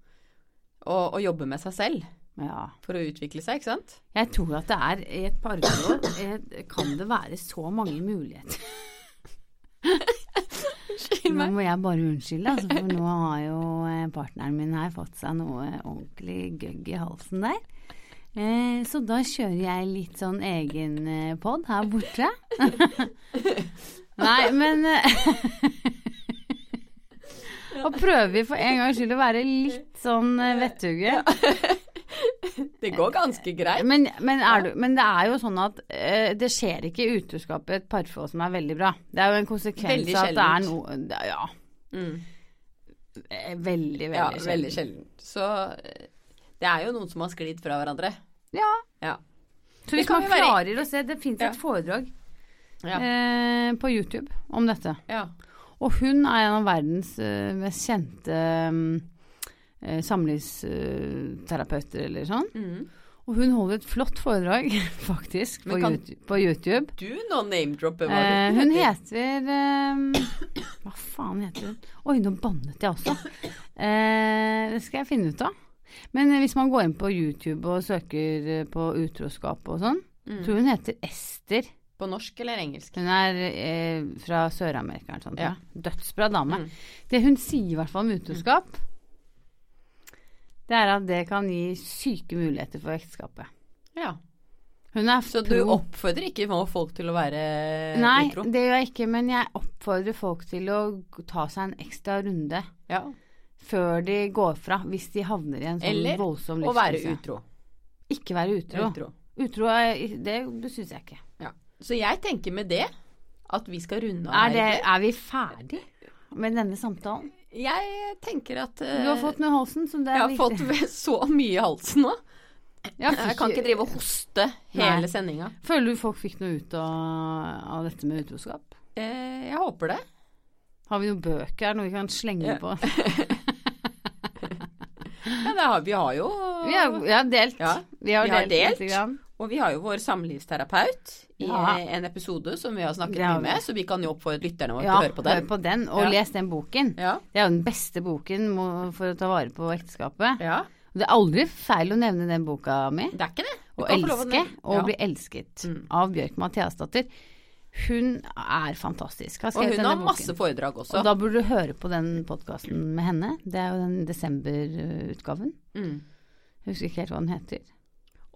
Speaker 3: og å jobbe med seg selv
Speaker 2: Ja.
Speaker 3: for å utvikle seg, ikke sant?
Speaker 2: Jeg tror at det er i et parforhold eh, kan det være så mange muligheter. Nå må jeg bare unnskylde, altså, for nå har jo eh, partneren min her fått seg noe ordentlig gøgg i halsen der. Eh, Så da kjører jeg litt sånn egen eh, pod her borte. Nei, men eh, Og prøver for en gangs skyld å være litt sånn eh, vettuge.
Speaker 3: Det går ganske greit.
Speaker 2: Men, men, er du, men det er jo sånn at eh, det skjer ikke i utenskap i et parforhold som er veldig bra. Det er jo en konsekvens
Speaker 3: Veldig
Speaker 2: av at det er
Speaker 3: sjeldent.
Speaker 2: noe det er- Ja.
Speaker 3: Mm.
Speaker 2: eh, Veldig, veldig
Speaker 3: Ja,
Speaker 2: sjeldent.
Speaker 3: veldig sjelden. Så eh, det er jo noen som har sklidd fra hverandre.
Speaker 2: Ja.
Speaker 3: Ja.
Speaker 2: Så hvis
Speaker 3: kan
Speaker 2: man
Speaker 3: vi være-
Speaker 2: klarer å se Det fins
Speaker 3: Ja.
Speaker 2: et foredrag
Speaker 3: Ja.
Speaker 2: eh, på YouTube om dette.
Speaker 3: ja.
Speaker 2: Og hun er en av verdens eh, mest kjente mm, eh, samlivsterapeuter eller sånn.
Speaker 3: Mm.
Speaker 2: Og hun holder et flott foredrag, faktisk, på,
Speaker 3: Men kan-
Speaker 2: YouTube, på YouTube.
Speaker 3: Du nå name-dropper hva
Speaker 2: Eh,
Speaker 3: du
Speaker 2: hun heter eh, Hva faen heter hun? Oi, nå bannet jeg også. Eh, det skal jeg finne ut av. Men eh, hvis man går inn på YouTube og søker eh, på utroskap og sånn,
Speaker 3: Mm.
Speaker 2: tror hun heter Ester.
Speaker 3: På norsk eller engelsk?
Speaker 2: Hun er eh, fra Sør-Amerika eller sånt.
Speaker 3: Ja.
Speaker 2: Ja. Dødsbra dame.
Speaker 3: Mm.
Speaker 2: Det hun sier i hvert fall om utroskap,
Speaker 3: Mm.
Speaker 2: det er at det kan gi syke muligheter for ekteskapet.
Speaker 3: Ja.
Speaker 2: Hun er
Speaker 3: Så du
Speaker 2: pro-
Speaker 3: oppfordrer ikke nå folk til å være
Speaker 2: Nei,
Speaker 3: utro?
Speaker 2: det gjør jeg ikke, men jeg oppfordrer folk til å g- ta seg en ekstra runde
Speaker 3: Ja.
Speaker 2: før de går fra, hvis de havner i en sånn
Speaker 3: Eller
Speaker 2: voldsom
Speaker 3: Å være
Speaker 2: livskrise.
Speaker 3: utro.
Speaker 2: Ikke være utro.
Speaker 3: utro.
Speaker 2: Utro er, det, det syns jeg ikke.
Speaker 3: Ja. Så jeg tenker med det at vi skal runde av
Speaker 2: Er, det,
Speaker 3: her.
Speaker 2: er vi ferdig med denne samtalen?
Speaker 3: Jeg tenker at eh,
Speaker 2: Du har fått noe i halsen, så det er
Speaker 3: Jeg har fått så mye i halsen nå.
Speaker 2: Ja,
Speaker 3: Jeg kan ikke drive og hoste
Speaker 2: Nei.
Speaker 3: hele sendinga.
Speaker 2: Føler du folk fikk noe ut av, av dette med utroskap?
Speaker 3: Eh, jeg håper det.
Speaker 2: Har vi noen bøker, noe vi kan slenge
Speaker 3: Ja.
Speaker 2: på?
Speaker 3: Ja, det har, vi har jo
Speaker 2: Vi har, vi har delt.
Speaker 3: Ja,
Speaker 2: vi har
Speaker 3: vi har
Speaker 2: delt.
Speaker 3: delt.
Speaker 2: lite grann.
Speaker 3: Og vi har jo vår samlivsterapeut i
Speaker 2: Ja.
Speaker 3: eh, en episode som vi har snakket
Speaker 2: Det har
Speaker 3: mye
Speaker 2: vi.
Speaker 3: med, så vi kan jo oppfordre lytterne våre
Speaker 2: Ja,
Speaker 3: til å høre på den.
Speaker 2: hør på den, og
Speaker 3: Ja.
Speaker 2: les den boken.
Speaker 3: Ja.
Speaker 2: Det er jo den beste boken mo- for å ta vare på ekteskapet.
Speaker 3: ja.
Speaker 2: Det er aldri feil å nevne den boka mi.
Speaker 3: Det er ikke det. Du
Speaker 2: Å
Speaker 3: kan få lov å
Speaker 2: elske
Speaker 3: nevne-
Speaker 2: og
Speaker 3: Ja. Mm.
Speaker 2: bli elsket av Bjørk Mathiasdatter. Hun er fantastisk. Har
Speaker 3: Og
Speaker 2: skrevet
Speaker 3: hun har
Speaker 2: denne
Speaker 3: masse
Speaker 2: boken.
Speaker 3: foredrag også.
Speaker 2: Og da burde du høre på den podkasten med henne. Det er jo den desemberutgaven.
Speaker 3: mm.
Speaker 2: Jeg Husker ikke helt hva den heter.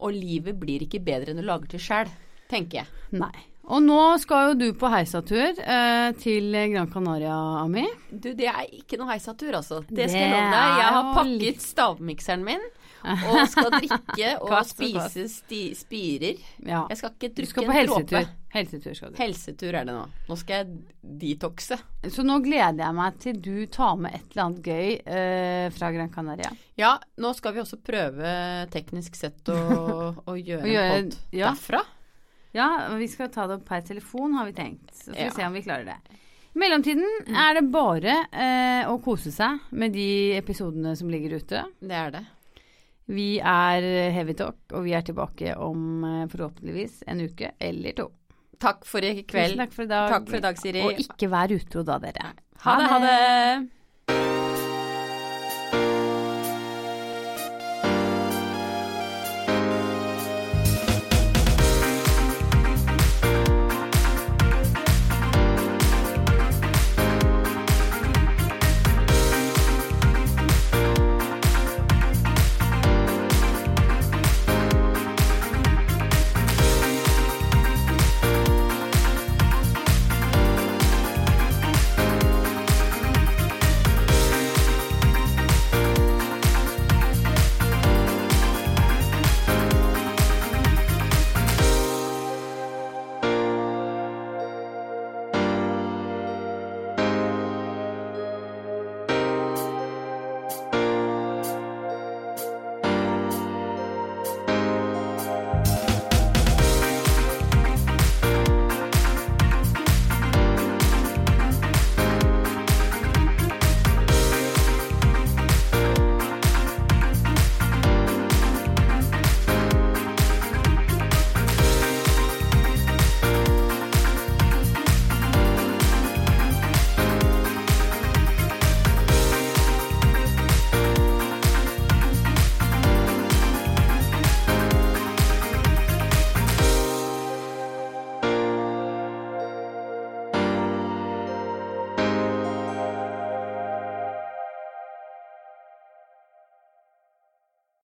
Speaker 3: Og livet blir ikke bedre enn du lager til sjæl, tenker jeg.
Speaker 2: Nei. Og nå skal jo du på heisatur eh, til Gran Canaria, Ami.
Speaker 3: Du, det er ikke noe heisatur, altså. Det
Speaker 2: Det
Speaker 3: skal jeg love deg. Jeg
Speaker 2: er
Speaker 3: har
Speaker 2: jo
Speaker 3: pakket
Speaker 2: litt-
Speaker 3: stavmikseren min og skal drikke og
Speaker 2: Kast og
Speaker 3: spise sti spirer.
Speaker 2: Ja.
Speaker 3: Jeg skal
Speaker 2: Du
Speaker 3: ikke drikke
Speaker 2: skal på
Speaker 3: en dråpe.
Speaker 2: helsetur. Helsetur skal du.
Speaker 3: Helsetur er det nå. Nå skal jeg detoxe.
Speaker 2: Så nå gleder jeg meg til du tar med et eller annet gøy eh, fra Gran Canaria.
Speaker 3: Ja, nå skal vi også prøve teknisk sett å, å gjøre
Speaker 2: Å gjøre-
Speaker 3: en pod
Speaker 2: ja.
Speaker 3: derfra.
Speaker 2: Ja, og vi skal ta det opp per telefon, har vi tenkt. Så får vi
Speaker 3: Ja.
Speaker 2: se om vi klarer det. I mellomtiden er det bare eh, å kose seg med de episodene som ligger ute.
Speaker 3: Det er det.
Speaker 2: Vi er Heavy Talk, og vi er tilbake om eh, forhåpentligvis en uke eller to.
Speaker 3: Takk for i kveld.
Speaker 2: Tusen takk for i dag.
Speaker 3: Takk for i dag, Siri.
Speaker 2: Og ikke vær utro da, dere.
Speaker 3: Ha det, ha det.